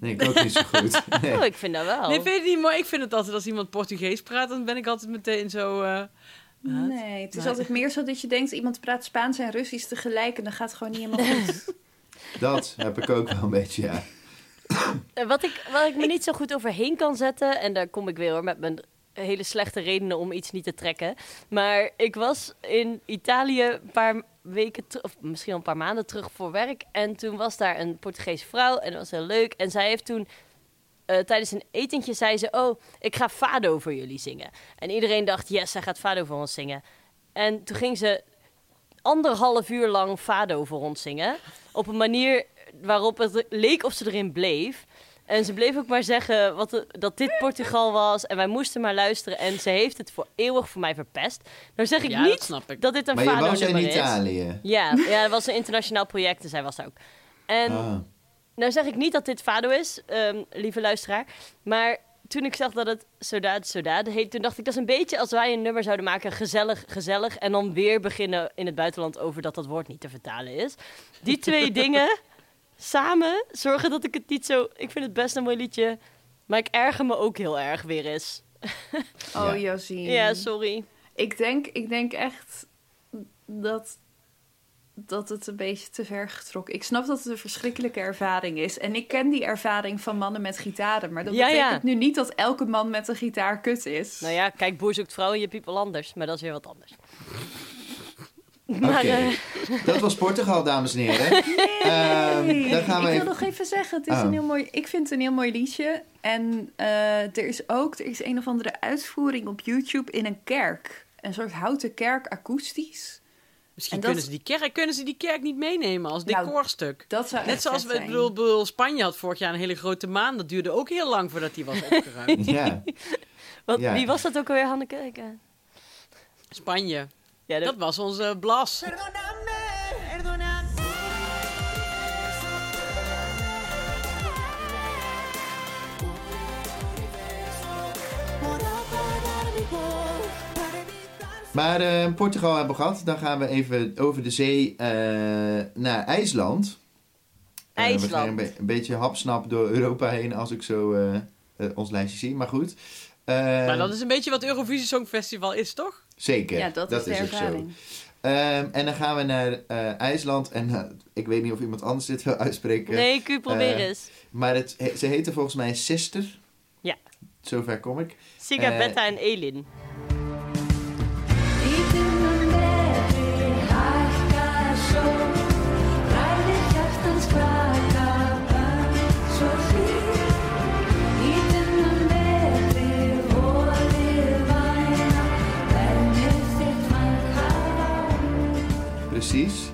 [SPEAKER 1] Nee, ik ook niet zo goed. Nee.
[SPEAKER 4] Oh, ik vind dat wel.
[SPEAKER 3] Nee, vind je het niet mooi? Ik vind het altijd als iemand Portugees praat, dan ben ik altijd meteen zo... eh,
[SPEAKER 2] Nee, het is
[SPEAKER 3] Maar-
[SPEAKER 2] altijd meer zo dat je denkt... iemand praat Spaans en Russisch tegelijk... en dan gaat het gewoon niet helemaal goed.
[SPEAKER 1] Dat heb ik ook wel een beetje, ja.
[SPEAKER 4] Eh, Wat ik, wat ik me niet zo goed overheen kan zetten, en daar kom ik weer hoor, met mijn hele slechte redenen om iets niet te trekken. Maar ik was in Italië een paar weken, ter- of misschien al een paar maanden terug voor werk. En toen was daar een Portugese vrouw en dat was heel leuk. En zij heeft toen eh, tijdens een etentje zei ze: Oh, ik ga Fado voor jullie zingen. En iedereen dacht: Yes, zij gaat Fado voor ons zingen. En toen ging ze anderhalf uur lang Fado voor ons zingen. Op een manier waarop het leek of ze erin bleef. En ze bleef ook maar zeggen wat, de- dat dit Portugal was. En wij moesten maar luisteren. En ze heeft het voor eeuwig voor mij verpest. Nou zeg ik
[SPEAKER 3] Ja, dat
[SPEAKER 4] niet
[SPEAKER 3] snap ik.
[SPEAKER 4] dat dit een
[SPEAKER 1] Maar je
[SPEAKER 4] fado
[SPEAKER 1] woont in
[SPEAKER 4] nummer is.
[SPEAKER 1] Italië.
[SPEAKER 4] Ja, ja, dat was een internationaal project, dus hij was daar ook. En
[SPEAKER 1] Ah.
[SPEAKER 4] nou zeg ik niet dat dit Fado is, ehm, lieve luisteraar. Maar toen ik zag dat het Sodade Sodade heet, toen dacht ik dat is een beetje als wij een nummer zouden maken, gezellig, gezellig. En dan weer beginnen in het buitenland over dat dat woord niet te vertalen is. Die twee dingen samen zorgen dat ik het niet zo. Ik vind het best een mooi liedje, maar ik erger me ook heel erg weer eens.
[SPEAKER 1] Ja.
[SPEAKER 2] Oh, Josien.
[SPEAKER 4] Ja, sorry.
[SPEAKER 2] Ik denk, ik denk echt dat, dat het een beetje te ver getrokken. Ik snap dat het een verschrikkelijke ervaring is. En ik ken die ervaring van mannen met gitaren. Maar dat
[SPEAKER 4] Ja, ja.
[SPEAKER 2] betekent nu niet dat elke man met een gitaar kut is.
[SPEAKER 4] Nou ja, kijk, boer zoekt vrouw en je people anders, maar dat is weer wat anders.
[SPEAKER 1] Oké. Dat was Portugal, dames en heren. Ehm, dan gaan we
[SPEAKER 2] ik
[SPEAKER 1] even-
[SPEAKER 2] wil nog even zeggen, het is
[SPEAKER 1] Oh.
[SPEAKER 2] een heel mooi, ik vind het een heel mooi liedje. En eh, er is ook er is een of andere uitvoering op YouTube in een kerk. Een soort houten kerk, akoestisch.
[SPEAKER 3] Misschien
[SPEAKER 2] En dat-
[SPEAKER 3] kunnen, ze die kerk, kunnen ze die kerk niet meenemen als
[SPEAKER 2] Nou,
[SPEAKER 3] decorstuk.
[SPEAKER 2] Dat zou
[SPEAKER 3] Net
[SPEAKER 2] echt
[SPEAKER 3] zoals
[SPEAKER 2] vet
[SPEAKER 3] we, ik
[SPEAKER 2] zijn.
[SPEAKER 3] bedoel, bedoel, Spanje had vorig jaar een hele grote maan. Dat duurde ook heel lang voordat die was opgeruimd.
[SPEAKER 1] Ja.
[SPEAKER 4] Want,
[SPEAKER 1] Ja.
[SPEAKER 4] Wie was dat ook alweer, Hanneke? Ik, eh,
[SPEAKER 3] Spanje.
[SPEAKER 4] Ja, dat-
[SPEAKER 3] Dat was onze Blas.
[SPEAKER 1] Maar eh, Portugal hebben we gehad. Dan gaan we even over de zee eh, naar IJsland. Eh, we gaan
[SPEAKER 4] IJsland.
[SPEAKER 1] een, be- een beetje hapsnap door Europa heen als ik zo eh, eh, ons lijstje zie. Maar goed. Eh,
[SPEAKER 3] Maar Nou, dat is een beetje wat Eurovisie Songfestival is, toch?
[SPEAKER 1] Zeker.
[SPEAKER 2] Ja, dat, is de
[SPEAKER 1] ook zo.
[SPEAKER 2] ervaring.
[SPEAKER 1] Ehm, en dan gaan we naar eh, IJsland. En eh, ik weet niet of iemand anders dit wil uitspreken.
[SPEAKER 4] Nee, Q, probeer
[SPEAKER 1] Eh,
[SPEAKER 4] eens.
[SPEAKER 1] Maar het, he- ze heten volgens mij Sister.
[SPEAKER 4] Ja.
[SPEAKER 1] Zover kom ik.
[SPEAKER 4] Siga,
[SPEAKER 1] eh,
[SPEAKER 4] Betta en Elin.
[SPEAKER 1] Precies.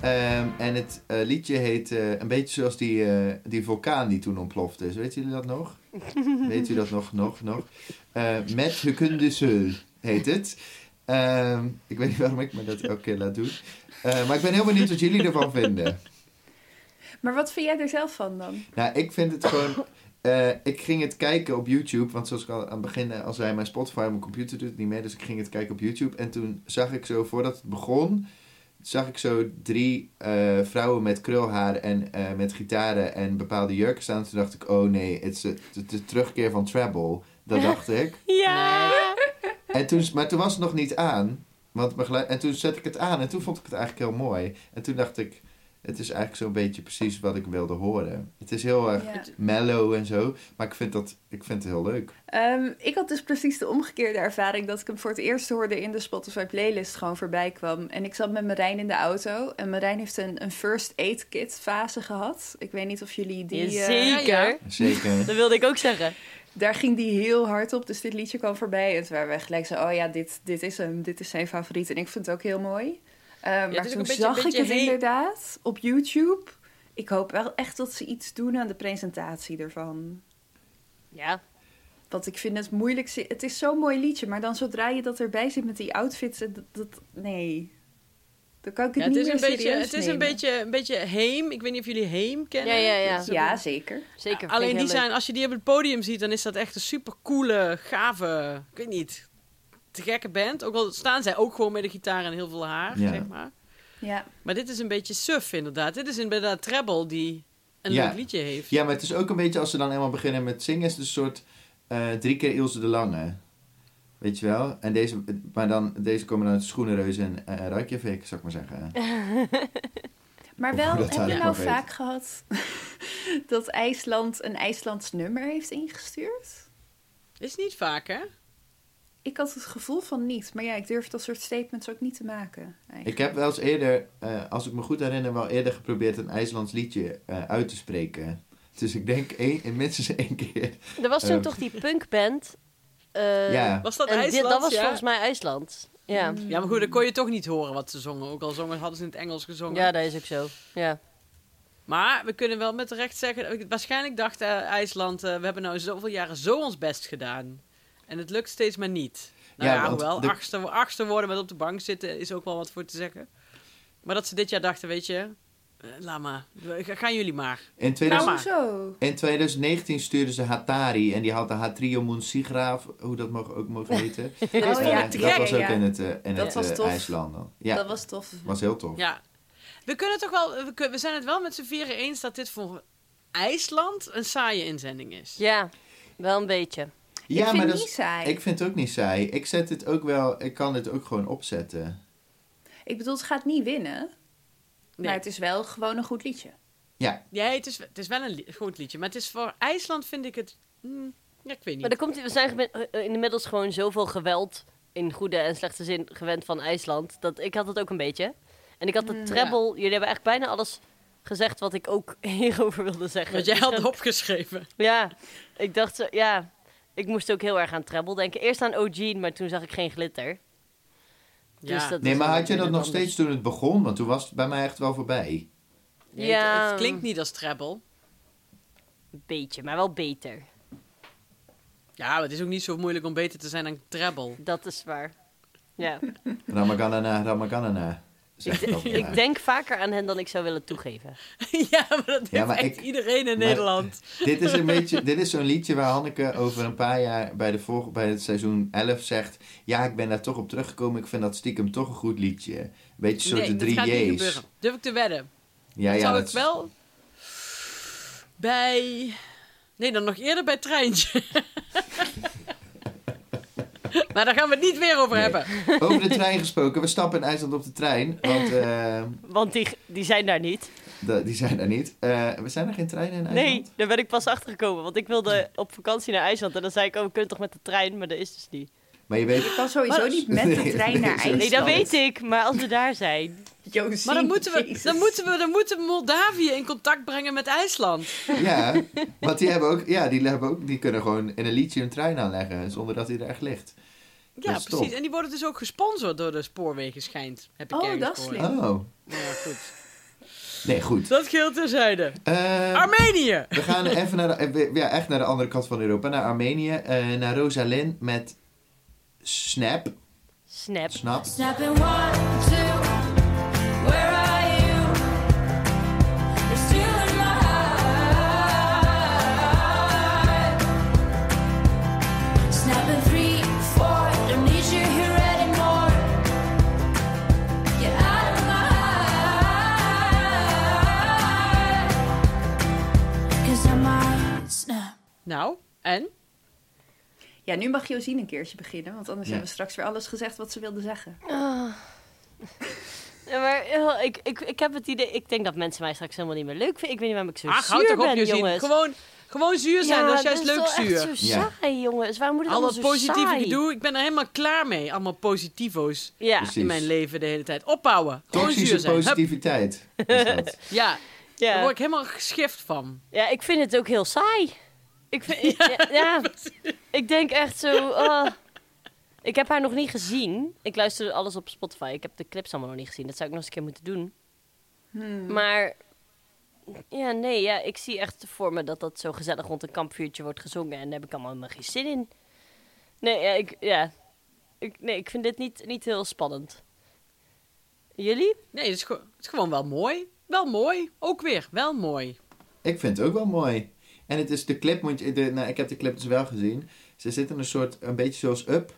[SPEAKER 1] Ehm, en het eh, liedje heet eh, een beetje zoals die, eh, die vulkaan die toen ontplofte. Dus weet jullie dat nog? weet u dat nog, nog, nog? Eh, Met Hukunde Seul heet het. Ehm, ik weet niet waarom ik me dat elke keer laat doen. Eh, maar ik ben heel benieuwd wat jullie ervan vinden.
[SPEAKER 2] Maar wat vind jij er zelf van dan?
[SPEAKER 1] Nou, ik vind het gewoon... eh, ik ging het kijken op YouTube, want zoals ik al aan het begin eh, al zei, mijn Spotify op mijn computer doet het niet meer, dus ik ging het kijken op YouTube. En toen zag ik zo, voordat het begon, zag ik zo drie eh, vrouwen met krulhaar en eh, met gitaren en bepaalde jurken staan. Toen dacht ik, oh nee, het is de, de- de terugkeer van Treble. Dat dacht ik.
[SPEAKER 4] Ja!
[SPEAKER 1] En toen, maar toen was het nog niet aan. Want mijn geluid- en toen zette ik het aan en toen vond ik het eigenlijk heel mooi. En toen dacht ik, het is eigenlijk zo'n beetje precies wat ik wilde horen. Het is heel erg
[SPEAKER 2] Ja.
[SPEAKER 1] mellow en zo. Maar ik vind, dat, ik vind het heel leuk.
[SPEAKER 2] Ehm, ik had dus precies de omgekeerde ervaring dat ik hem voor het eerst hoorde in de Spotify playlist gewoon voorbij kwam. En ik zat met Marijn in de auto en Marijn heeft een, een first aid kit fase gehad. Ik weet niet of jullie die... eh,
[SPEAKER 4] Zeker.
[SPEAKER 1] Zeker.
[SPEAKER 4] Dat wilde ik ook zeggen.
[SPEAKER 2] daar ging die heel hard op, dus dit liedje kwam voorbij. En toen waren we gelijk zo, oh ja, dit, dit is hem, dit is zijn favoriet. En ik vind het ook heel mooi. Eh,
[SPEAKER 3] het
[SPEAKER 2] maar toen
[SPEAKER 3] is ook een beetje-
[SPEAKER 2] zag
[SPEAKER 3] beetje
[SPEAKER 2] ik het
[SPEAKER 3] hey-
[SPEAKER 2] inderdaad op YouTube. Ik hoop wel echt dat ze iets doen aan de presentatie ervan.
[SPEAKER 4] Ja.
[SPEAKER 2] Want ik vind het moeilijk. zi- Het is zo'n mooi liedje, maar dan zodra je dat erbij zit met die outfits, eh, dat, dat nee. Dan kan ik het
[SPEAKER 3] Ja, het
[SPEAKER 2] niet
[SPEAKER 3] is,
[SPEAKER 2] meer
[SPEAKER 3] een beetje,
[SPEAKER 2] serieus
[SPEAKER 3] het is een,
[SPEAKER 2] nemen.
[SPEAKER 3] beetje, een beetje heem. Ik weet niet of jullie heem kennen.
[SPEAKER 4] Ja, ja, ja.
[SPEAKER 3] Dat is ook
[SPEAKER 2] Ja,
[SPEAKER 3] een-
[SPEAKER 2] zeker.
[SPEAKER 4] Zeker. vind ik
[SPEAKER 3] Alleen
[SPEAKER 4] heel
[SPEAKER 3] die
[SPEAKER 4] leuk.
[SPEAKER 3] zijn, als je die op het podium ziet, dan is dat echt een supercoole, gave, ik weet niet, te gekke band. Ook al staan zij ook gewoon met een gitaar en heel veel haar,
[SPEAKER 1] Ja.
[SPEAKER 3] zeg maar.
[SPEAKER 2] Ja.
[SPEAKER 3] Maar dit is een beetje suf inderdaad. Dit is inderdaad treble die een
[SPEAKER 1] Ja.
[SPEAKER 3] leuk liedje heeft.
[SPEAKER 1] Ja, maar het is ook een beetje als ze dan helemaal beginnen met zingen. Is het een soort eh, drie keer Ilse de Lange. Weet je wel? En deze, maar dan, deze komen dan uit Schoenenreus en eh Reykjavik, zou ik maar zeggen.
[SPEAKER 2] Maar
[SPEAKER 1] Of
[SPEAKER 2] wel,
[SPEAKER 1] hoe dat
[SPEAKER 2] heb je
[SPEAKER 1] eigenlijk
[SPEAKER 2] nou
[SPEAKER 1] wel weet.
[SPEAKER 2] vaak gehad dat IJsland een IJslands nummer heeft ingestuurd?
[SPEAKER 3] Is niet vaak, hè?
[SPEAKER 2] Ik had het gevoel van niet, maar ja, ik durf dat soort statements ook niet te maken. eigenlijk.
[SPEAKER 1] Ik heb wel eens eerder, eh, als ik me goed herinner, wel eerder geprobeerd een IJslands liedje eh, uit te spreken. Dus ik denk één, minstens één keer.
[SPEAKER 4] Er was toen
[SPEAKER 1] Eh.
[SPEAKER 4] toch die punkband. eh,
[SPEAKER 1] ja.
[SPEAKER 3] Was dat
[SPEAKER 4] en dit-
[SPEAKER 3] IJsland?
[SPEAKER 4] dat was
[SPEAKER 3] ja. Mm.
[SPEAKER 4] volgens mij IJsland. Ja.
[SPEAKER 3] Ja, maar goed, dan kon je toch niet horen wat ze zongen. Ook al zongen, hadden ze in het Engels gezongen.
[SPEAKER 4] ja, dat is ook zo. Ja.
[SPEAKER 3] Maar we kunnen wel met recht zeggen... Waarschijnlijk dacht eh, IJsland... eh, we hebben nou zoveel jaren zo ons best gedaan. En het lukt steeds maar niet. Nou
[SPEAKER 1] Ja,
[SPEAKER 3] ja,
[SPEAKER 1] want
[SPEAKER 3] hoewel,
[SPEAKER 1] de-
[SPEAKER 3] achtste, achtste worden met op de bank zitten... is ook wel wat voor te zeggen. Maar dat ze dit jaar dachten, weet je... eh, laat maar. We- ga- Gaan jullie maar.
[SPEAKER 1] In, 2000
[SPEAKER 3] maar.
[SPEAKER 2] Nou, zo.
[SPEAKER 1] in 2019 stuurden ze Hatari en die had de Hatrio Munsigraaf, hoe dat mag, ook mogen heten.
[SPEAKER 2] Oh, ja,
[SPEAKER 1] Eh, dat was ook
[SPEAKER 2] ja.
[SPEAKER 1] in het, eh, in
[SPEAKER 2] Dat
[SPEAKER 1] het
[SPEAKER 2] was
[SPEAKER 1] eh,
[SPEAKER 2] tof.
[SPEAKER 1] IJsland dan. Ja,
[SPEAKER 2] Dat
[SPEAKER 1] dat
[SPEAKER 2] was tof.
[SPEAKER 1] was heel tof.
[SPEAKER 3] Ja. We kunnen toch wel... We, kun- we zijn het wel met z'n vieren eens... dat dit voor IJsland een saaie inzending is.
[SPEAKER 4] Ja, wel een beetje.
[SPEAKER 2] ik vind
[SPEAKER 1] dat
[SPEAKER 2] niet
[SPEAKER 1] is-
[SPEAKER 2] saai.
[SPEAKER 1] Ik vind het ook niet saai. Ik zet dit ook wel, ik kan dit ook gewoon opzetten.
[SPEAKER 2] Ik bedoel, het gaat niet winnen.
[SPEAKER 3] Nee.
[SPEAKER 2] Maar het is wel gewoon een goed liedje.
[SPEAKER 1] Ja,
[SPEAKER 3] Ja, het is, het is wel een li- goed liedje. Maar het is voor IJsland vind ik het... hmm, ja, ik weet niet.
[SPEAKER 4] Maar er komt, we zijn gewen- eh, eh, inmiddels gewoon zoveel geweld, in goede en slechte zin, gewend van IJsland. Dat, ik had dat ook een beetje. En ik had
[SPEAKER 3] Mm.
[SPEAKER 4] de treble... Jullie hebben eigenlijk bijna alles gezegd wat ik ook hierover wilde zeggen.
[SPEAKER 3] Want jij had
[SPEAKER 4] Dus,
[SPEAKER 3] opgeschreven.
[SPEAKER 4] Ja, ik dacht... zo- Ja, ik moest ook heel erg aan treble denken. Eerst aan O'Gene, maar toen zag ik geen glitter. Dus
[SPEAKER 3] Ja.
[SPEAKER 4] dat
[SPEAKER 1] nee,
[SPEAKER 4] is
[SPEAKER 1] maar
[SPEAKER 4] wel
[SPEAKER 1] had je dat nog
[SPEAKER 4] natuurlijk
[SPEAKER 1] steeds toen het begon? Want toen was het bij mij echt wel voorbij.
[SPEAKER 4] anders.
[SPEAKER 3] Nee, het-
[SPEAKER 4] Ja,
[SPEAKER 3] Het klinkt niet als treble.
[SPEAKER 4] een beetje, maar wel beter.
[SPEAKER 3] Ja, maar het is ook niet zo moeilijk om beter te zijn dan treble.
[SPEAKER 4] Dat is waar. Ja.
[SPEAKER 1] Ramaganana, Ramaganana. Zeg ik, altijd maar.
[SPEAKER 4] Ik denk vaker aan hen dan ik zou willen toegeven.
[SPEAKER 3] ja, maar dat heeft
[SPEAKER 1] maar
[SPEAKER 3] echt
[SPEAKER 1] ik-
[SPEAKER 3] iedereen in
[SPEAKER 1] maar-
[SPEAKER 3] Nederland.
[SPEAKER 1] dit is een beetje, dit is zo'n liedje waar Hanneke over een paar jaar bij, de volg- bij het seizoen 11 zegt: Ja, ik ben daar toch op teruggekomen. Ik vind dat stiekem toch een goed liedje. Een beetje een soort
[SPEAKER 3] Nee,
[SPEAKER 1] de
[SPEAKER 3] dat gaat
[SPEAKER 1] drie
[SPEAKER 3] niet
[SPEAKER 1] J's.
[SPEAKER 3] gebeuren. Durf ik te wedden.
[SPEAKER 1] Ja, ja,
[SPEAKER 3] Dat zou
[SPEAKER 1] dat
[SPEAKER 3] ik
[SPEAKER 1] is-
[SPEAKER 3] wel bij... Nee, dan nog eerder bij Treintje. maar daar gaan we het niet weer over
[SPEAKER 1] Nee.
[SPEAKER 3] hebben.
[SPEAKER 1] Over de trein gesproken, we stappen in IJsland op de trein. Want eh,
[SPEAKER 4] Want die, die zijn daar niet.
[SPEAKER 1] da- die zijn er niet. Eh, we zijn er geen treinen in IJsland?
[SPEAKER 4] Nee, daar ben ik pas achter gekomen. Want ik wilde op vakantie naar IJsland. En dan zei ik, oh, we kunnen toch met de trein? Maar dat is dus niet.
[SPEAKER 1] Maar je weet,
[SPEAKER 2] Je kan sowieso
[SPEAKER 1] Maar-
[SPEAKER 2] niet met de
[SPEAKER 1] Nee,
[SPEAKER 2] trein
[SPEAKER 1] nee,
[SPEAKER 2] naar
[SPEAKER 1] sowieso.
[SPEAKER 2] IJsland.
[SPEAKER 4] Nee, dat weet ik. Maar als we daar zijn.
[SPEAKER 2] Josien,
[SPEAKER 3] Maar dan moeten, we,
[SPEAKER 2] Jezus.
[SPEAKER 3] dan, moeten we, dan moeten we Moldavië in contact brengen met IJsland.
[SPEAKER 1] ja, want die, hebben ook, ja, die, hebben ook, die kunnen gewoon in een liedje een trein aanleggen. Zonder dat hij er echt ligt.
[SPEAKER 3] Ja,
[SPEAKER 1] Dat is
[SPEAKER 3] precies.
[SPEAKER 1] top.
[SPEAKER 3] En die worden dus ook gesponsord door de spoorwegen, schijnt. Heb ik
[SPEAKER 2] Oh,
[SPEAKER 3] ergens
[SPEAKER 2] dat is
[SPEAKER 3] gehoord.
[SPEAKER 2] slim.
[SPEAKER 1] Oh,
[SPEAKER 3] Nou ja, goed.
[SPEAKER 1] nee, goed.
[SPEAKER 3] Dat geldt terzijde.
[SPEAKER 1] Eh,
[SPEAKER 3] Armenië!
[SPEAKER 1] We gaan even naar de, eh, ja, echt naar de andere kant van Europa, naar Armenië, eh, naar Rosalind met Snap.
[SPEAKER 4] Snap.
[SPEAKER 1] Snap.
[SPEAKER 7] Snapping one, two, where are you? You're still in my heart. Snapping three, four, don't need you here anymore. Get out of my heart. Cause I might snap.
[SPEAKER 3] Nou, en?
[SPEAKER 2] Ja, nu mag Josien een keertje beginnen, want anders
[SPEAKER 1] Ja.
[SPEAKER 2] hebben we straks weer alles gezegd wat ze wilde zeggen.
[SPEAKER 4] Ja, maar eh, ik, ik, ik heb het idee... Ik denk dat mensen mij straks helemaal niet meer leuk vinden. Ik weet niet waarom ik zo
[SPEAKER 3] Ach,
[SPEAKER 4] zuur
[SPEAKER 3] Ah, houd toch op,
[SPEAKER 4] ben,
[SPEAKER 3] Josien.
[SPEAKER 4] jongens.
[SPEAKER 3] Gewoon, gewoon zuur zijn, dat is juist leuk
[SPEAKER 4] toch echt
[SPEAKER 3] zuur.
[SPEAKER 4] zo
[SPEAKER 1] Ja.
[SPEAKER 4] saai, jongens. Waarom moet het
[SPEAKER 3] Al dat
[SPEAKER 4] allemaal zo
[SPEAKER 3] positieve
[SPEAKER 4] saai?
[SPEAKER 3] gedoe, ik ben er helemaal klaar mee. Allemaal positivo's
[SPEAKER 4] Ja,
[SPEAKER 1] Precies.
[SPEAKER 3] in mijn leven de hele tijd. Opbouwen. Gewoon zuur
[SPEAKER 1] Toxische
[SPEAKER 3] zijn. Hup.
[SPEAKER 1] positiviteit. Is dat.
[SPEAKER 3] Ja, daar word
[SPEAKER 4] ja.
[SPEAKER 3] ik helemaal geschift van.
[SPEAKER 4] ja, ik vind het ook heel saai. Ik vind... Ja, ja. Ik denk echt zo... ah. Ik heb haar nog niet gezien. Ik luister alles op Spotify. Ik heb de clips allemaal nog niet gezien. Dat zou ik nog eens een keer moeten doen. Maar ja, nee, ja, ik zie echt voor me dat dat zo gezellig rond een kampvuurtje wordt gezongen. En daar heb ik allemaal helemaal geen zin in. Nee, ja, ik, ja. Ik, nee, ik vind dit niet, niet heel spannend. Jullie?
[SPEAKER 3] Nee, het is, gewoon- het is gewoon wel mooi. Wel mooi. Ook weer, wel mooi.
[SPEAKER 1] Ik vind het ook wel mooi. En het is de clip, want je- de, nou, ik heb de clip dus wel gezien. Ze zit in een soort, een beetje zoals Up.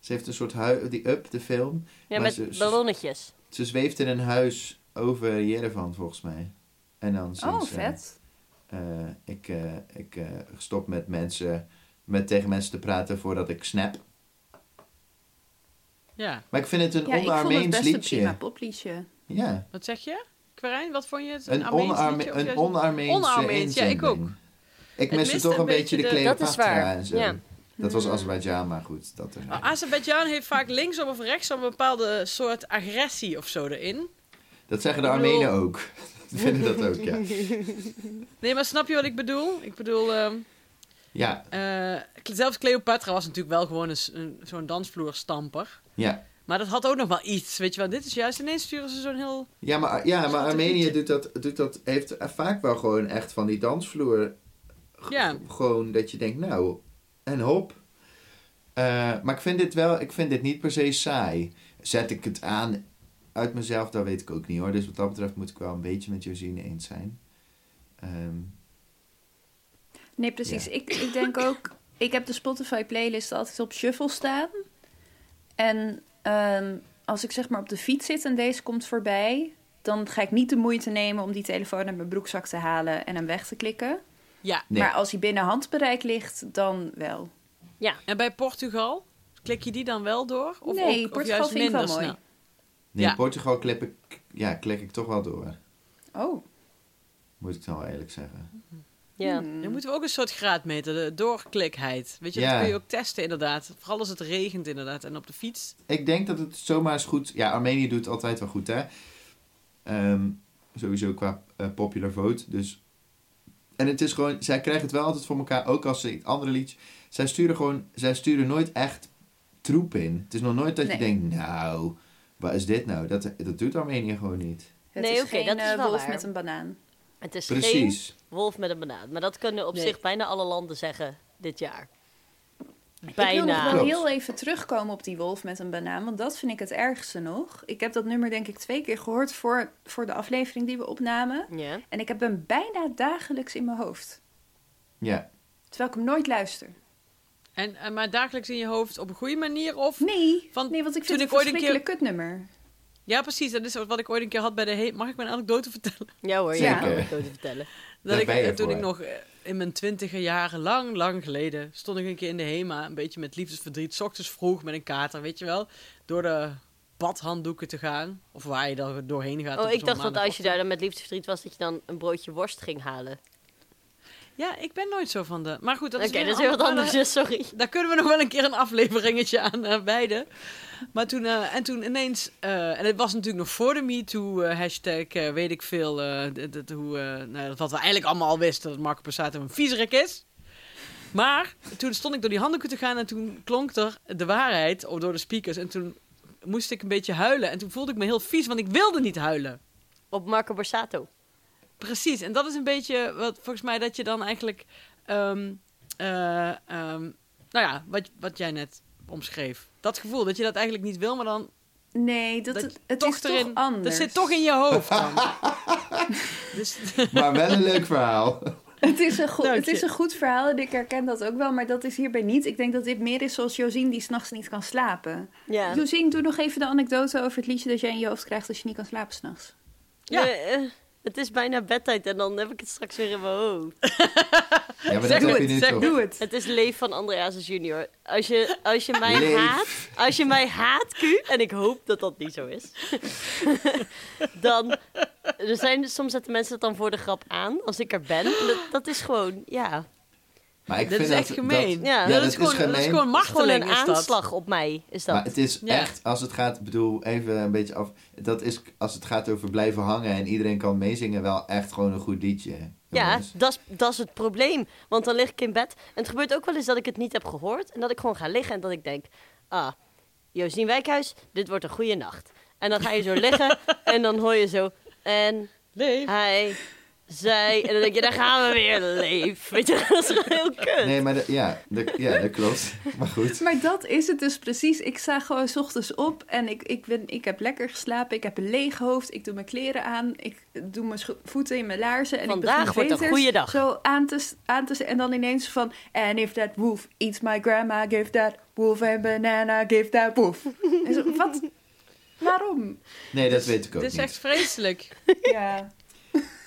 [SPEAKER 1] Ze heeft een soort huis, die Up, de film.
[SPEAKER 4] Ja,
[SPEAKER 1] Maar
[SPEAKER 4] met
[SPEAKER 1] ze- ze-
[SPEAKER 4] ballonnetjes.
[SPEAKER 1] Ze zweeft in een huis over Jerevan, volgens mij. En dan zingt
[SPEAKER 2] Oh,
[SPEAKER 1] ze,
[SPEAKER 2] vet.
[SPEAKER 1] eh, ik eh, ik eh, stop met mensen, met tegen mensen te praten voordat ik snap.
[SPEAKER 3] Ja,
[SPEAKER 1] Maar ik vind het een
[SPEAKER 2] Ja, ik vond het
[SPEAKER 1] on-Armeens
[SPEAKER 2] best een
[SPEAKER 1] liedje.
[SPEAKER 2] prima popliedje.
[SPEAKER 1] Ja.
[SPEAKER 3] wat zeg je? Kwarijn, wat vond je het?
[SPEAKER 1] Een
[SPEAKER 3] Armeens
[SPEAKER 1] onarme-
[SPEAKER 3] liedje of
[SPEAKER 1] een
[SPEAKER 3] juist-
[SPEAKER 1] onarmeens
[SPEAKER 3] Onarmeens, ja, ik ook.
[SPEAKER 1] Ik
[SPEAKER 3] Het
[SPEAKER 1] miste
[SPEAKER 3] mist
[SPEAKER 1] toch
[SPEAKER 3] een
[SPEAKER 1] een beetje de
[SPEAKER 3] beetje de-
[SPEAKER 4] Dat is
[SPEAKER 1] Cleopatra
[SPEAKER 4] waar,
[SPEAKER 1] en zo.
[SPEAKER 4] ja.
[SPEAKER 1] Dat was Azerbeidzjan, maar goed. Dat eh, er...
[SPEAKER 3] Nou, Azerbeidzjan heeft vaak linksom of rechtsom een bepaalde soort agressie of zo erin.
[SPEAKER 1] Dat zeggen de
[SPEAKER 3] ik bedoel-
[SPEAKER 1] Armenen ook. Die vinden dat ook, ja.
[SPEAKER 3] Nee, maar snap je wat ik bedoel? Ik bedoel, ehm,
[SPEAKER 1] Ja,
[SPEAKER 3] eh, Cle- zelfs Cleopatra was natuurlijk wel gewoon een, s- een- zo'n dansvloerstamper.
[SPEAKER 1] ja.
[SPEAKER 3] Maar dat had ook nog wel iets, weet je wel. Dit is juist ineens sturen ze zo'n heel...
[SPEAKER 1] Ja, maar, ja, maar
[SPEAKER 3] Schattig
[SPEAKER 1] Armenië
[SPEAKER 3] liedje.
[SPEAKER 1] doet dat, doet dat, heeft vaak wel gewoon echt van die dansvloer. G-
[SPEAKER 3] Ja.
[SPEAKER 1] Gewoon dat je denkt, nou, en hop. Eh, maar ik vind dit wel, ik vind dit niet per se saai. Zet ik het aan uit mezelf, dat weet ik ook niet hoor. Dus wat dat betreft moet ik wel een beetje met Josine eens zijn. Ehm,
[SPEAKER 2] Nee, precies. Ik, ik denk ook... Ik heb de Spotify-playlist altijd op shuffle staan. En ehm, als ik zeg maar op de fiets zit en deze komt voorbij... dan ga ik niet de moeite nemen om die telefoon uit mijn broekzak te halen... en hem weg te klikken.
[SPEAKER 3] Ja.
[SPEAKER 1] Nee.
[SPEAKER 2] Maar als hij binnen handbereik ligt, dan wel.
[SPEAKER 3] En bij Portugal, klik je die dan wel door? Of
[SPEAKER 2] Nee,
[SPEAKER 3] ook, of
[SPEAKER 2] Portugal
[SPEAKER 3] juist
[SPEAKER 2] vind ik wel
[SPEAKER 3] minder
[SPEAKER 2] mooi.
[SPEAKER 3] snel?
[SPEAKER 1] nee,
[SPEAKER 3] Ja.
[SPEAKER 1] Portugal klip ik, ja, klik ik toch wel door.
[SPEAKER 2] Oh.
[SPEAKER 1] Moet ik dan wel eerlijk zeggen.
[SPEAKER 4] Ja.
[SPEAKER 2] Mm.
[SPEAKER 3] Dan moeten we ook een soort graadmeter, de doorklikheid. Weet je,
[SPEAKER 1] Ja.
[SPEAKER 3] dat kun je ook testen inderdaad. Vooral als het regent inderdaad en op de fiets.
[SPEAKER 1] Ik denk dat het zomaar eens goed... Ja, Armenië doet het altijd wel goed, hè. Ehm, sowieso qua eh, popular vote. Dus... En het is gewoon... Zij krijgen het wel altijd voor elkaar. Ook als ze het andere liedje... Zij sturen gewoon... Zij sturen nooit echt troep in. Het is nog nooit dat
[SPEAKER 2] Nee.
[SPEAKER 1] je denkt... Nou, wat is dit nou? Dat, dat doet Armenië gewoon niet.
[SPEAKER 2] Het
[SPEAKER 4] Nee,
[SPEAKER 2] is
[SPEAKER 4] oké,
[SPEAKER 2] geen
[SPEAKER 4] dat is
[SPEAKER 2] eh,
[SPEAKER 4] wel
[SPEAKER 2] wolf
[SPEAKER 4] waar.
[SPEAKER 2] met een banaan.
[SPEAKER 4] Het is geen
[SPEAKER 1] Precies.
[SPEAKER 4] wolf met een banaan. Maar dat kunnen op
[SPEAKER 3] Nee.
[SPEAKER 4] zich bijna alle landen zeggen dit jaar.
[SPEAKER 2] Ik wil nog
[SPEAKER 4] Bijna.
[SPEAKER 2] wel
[SPEAKER 1] Klopt.
[SPEAKER 2] heel even terugkomen op die wolf met een banaan, want dat vind ik het ergste nog. Ik heb dat nummer denk ik twee keer gehoord voor, voor de aflevering die we opnamen.
[SPEAKER 4] Ja.
[SPEAKER 2] En ik heb hem bijna dagelijks in mijn hoofd,
[SPEAKER 1] Ja.
[SPEAKER 2] terwijl ik hem nooit luister.
[SPEAKER 3] En, en maar dagelijks in je hoofd op een goede manier of...
[SPEAKER 2] Nee,
[SPEAKER 3] Want
[SPEAKER 2] nee want ik
[SPEAKER 3] toen
[SPEAKER 2] vind het
[SPEAKER 3] ik
[SPEAKER 2] een
[SPEAKER 3] ooit een keer-
[SPEAKER 2] verschrikkelijk kutnummer.
[SPEAKER 3] Ja, precies. Dat is wat ik ooit een keer had bij de... He- Mag ik mijn anekdote vertellen?
[SPEAKER 4] Ja hoor,
[SPEAKER 1] Zeker.
[SPEAKER 4] ja. kan ik ook niet
[SPEAKER 3] Dat
[SPEAKER 4] vertellen.
[SPEAKER 1] Daar
[SPEAKER 3] ik,
[SPEAKER 1] ben je
[SPEAKER 3] eh, toen
[SPEAKER 1] voor.
[SPEAKER 3] ik nog eh, in mijn twintiger jaren, lang, lang geleden, stond ik een keer in de HEMA, een beetje met liefdesverdriet, 's ochtends vroeg met een kater, weet je wel, door de badhanddoeken te gaan. Of waar je dan doorheen gaat. op
[SPEAKER 4] Oh, ik
[SPEAKER 3] zo'n
[SPEAKER 4] dacht dat als je
[SPEAKER 3] maandagochtend.
[SPEAKER 4] daar dan met liefdesverdriet was, dat je dan een broodje worst ging halen.
[SPEAKER 3] Ja, ik ben nooit zo van de... Maar goed, dat
[SPEAKER 4] Oké,
[SPEAKER 3] is weer
[SPEAKER 4] dat is
[SPEAKER 3] een
[SPEAKER 4] heel wat
[SPEAKER 3] ander-
[SPEAKER 4] anders, dus sorry.
[SPEAKER 3] Daar kunnen we nog wel een keer een afleveringetje aan eh, wijden. Maar toen, eh, en toen ineens, eh, en het was natuurlijk nog voor de MeToo-hashtag, weet ik veel, eh, d- d- hoe, eh, nou, wat we eigenlijk allemaal al wisten, dat Marco Passato een viezerik is. Maar toen stond ik door die handdoeken te gaan en toen klonk er de waarheid of door de speakers. En toen moest ik een beetje huilen en toen voelde ik me heel vies, want ik wilde niet huilen.
[SPEAKER 4] Op Marco Borsato.
[SPEAKER 3] Precies, en dat is een beetje wat volgens mij dat je dan eigenlijk. ehm, eh, ehm, nou ja, wat, wat jij net omschreef. Dat gevoel dat je dat eigenlijk niet wil, maar dan.
[SPEAKER 2] Nee, dat,
[SPEAKER 3] Dat
[SPEAKER 2] het, het
[SPEAKER 3] toch
[SPEAKER 2] is
[SPEAKER 3] erin,
[SPEAKER 2] toch anders.
[SPEAKER 3] Dat zit toch in je hoofd dan. dus,
[SPEAKER 1] Maar wel een leuk verhaal.
[SPEAKER 2] Het is, een goed,
[SPEAKER 3] Dank
[SPEAKER 2] het
[SPEAKER 3] je.
[SPEAKER 2] is een goed verhaal en ik herken dat ook wel, maar dat is hierbij niet. Ik denk dat dit meer is zoals Josien die s'nachts niet kan slapen.
[SPEAKER 4] Ja.
[SPEAKER 2] Josien, doe nog even de anekdote over het liedje dat jij in je hoofd krijgt als je niet kan slapen s'nachts.
[SPEAKER 3] Ja.
[SPEAKER 4] Eh, eh, het is bijna bedtijd en dan heb ik het straks weer in mijn hoofd.
[SPEAKER 1] Ja, maar
[SPEAKER 3] Zeg
[SPEAKER 1] dat heb je
[SPEAKER 3] het,
[SPEAKER 1] nu
[SPEAKER 3] zeg
[SPEAKER 1] toch.
[SPEAKER 2] Doe het.
[SPEAKER 4] Het is Leef van Andreas junior. Als je, als je mij
[SPEAKER 1] Leef.
[SPEAKER 4] haat, als je mij haat, Q, en ik hoop dat dat niet zo is, dan, er zijn, dus soms zetten mensen dat dan voor de grap aan, als ik er ben. Dat, dat is gewoon, ja,
[SPEAKER 1] Maar ik
[SPEAKER 3] dat
[SPEAKER 1] vind
[SPEAKER 3] is echt
[SPEAKER 1] dat,
[SPEAKER 3] gemeen.
[SPEAKER 1] dat-
[SPEAKER 4] Ja,
[SPEAKER 1] ja,
[SPEAKER 4] dat
[SPEAKER 1] dat,
[SPEAKER 3] is gewoon, dat is gewoon
[SPEAKER 4] gewoon
[SPEAKER 3] machteling
[SPEAKER 4] een
[SPEAKER 3] is dat.
[SPEAKER 4] aanslag op mij, is dat.
[SPEAKER 1] Maar het is
[SPEAKER 3] Ja.
[SPEAKER 1] echt, als het gaat, ik bedoel, even een beetje af. Dat is, als het gaat over blijven hangen en iedereen kan meezingen, wel echt gewoon een goed liedje.
[SPEAKER 4] Ja,
[SPEAKER 1] jongens.
[SPEAKER 4] dat is- dat is het probleem. Want dan lig ik in bed. En het gebeurt ook wel eens dat ik het niet heb gehoord. En dat ik gewoon ga liggen en dat ik denk... Ah, Josien Wijkhuis, dit wordt een goede nacht. En dan ga je zo liggen en dan hoor je zo... En
[SPEAKER 3] Leef.
[SPEAKER 4] hij, zij... En dan denk je, daar gaan we weer, leef. Weet je, dat is gewoon heel kut.
[SPEAKER 1] Nee, maar dat- ja, dat, ja, dat klopt. Maar goed.
[SPEAKER 2] Maar dat is het dus precies. Ik sta gewoon 's ochtends op en ik, ik, ben, ik heb lekker geslapen. Ik heb een leeg hoofd. Ik doe mijn kleren aan. Ik doe mijn scho- voeten in mijn laarzen. En
[SPEAKER 4] Vandaag
[SPEAKER 2] ik begin
[SPEAKER 4] wordt een
[SPEAKER 2] veters
[SPEAKER 4] goede dag.
[SPEAKER 2] Zo aan te, s- aan te s- En dan ineens van... And if that wolf eats my grandma, give that wolf a banana, give that wolf. En zo, wat? Waarom?
[SPEAKER 1] Nee, dat weet ik ook
[SPEAKER 3] Dit is
[SPEAKER 1] niet.
[SPEAKER 3] echt vreselijk.
[SPEAKER 2] Ja.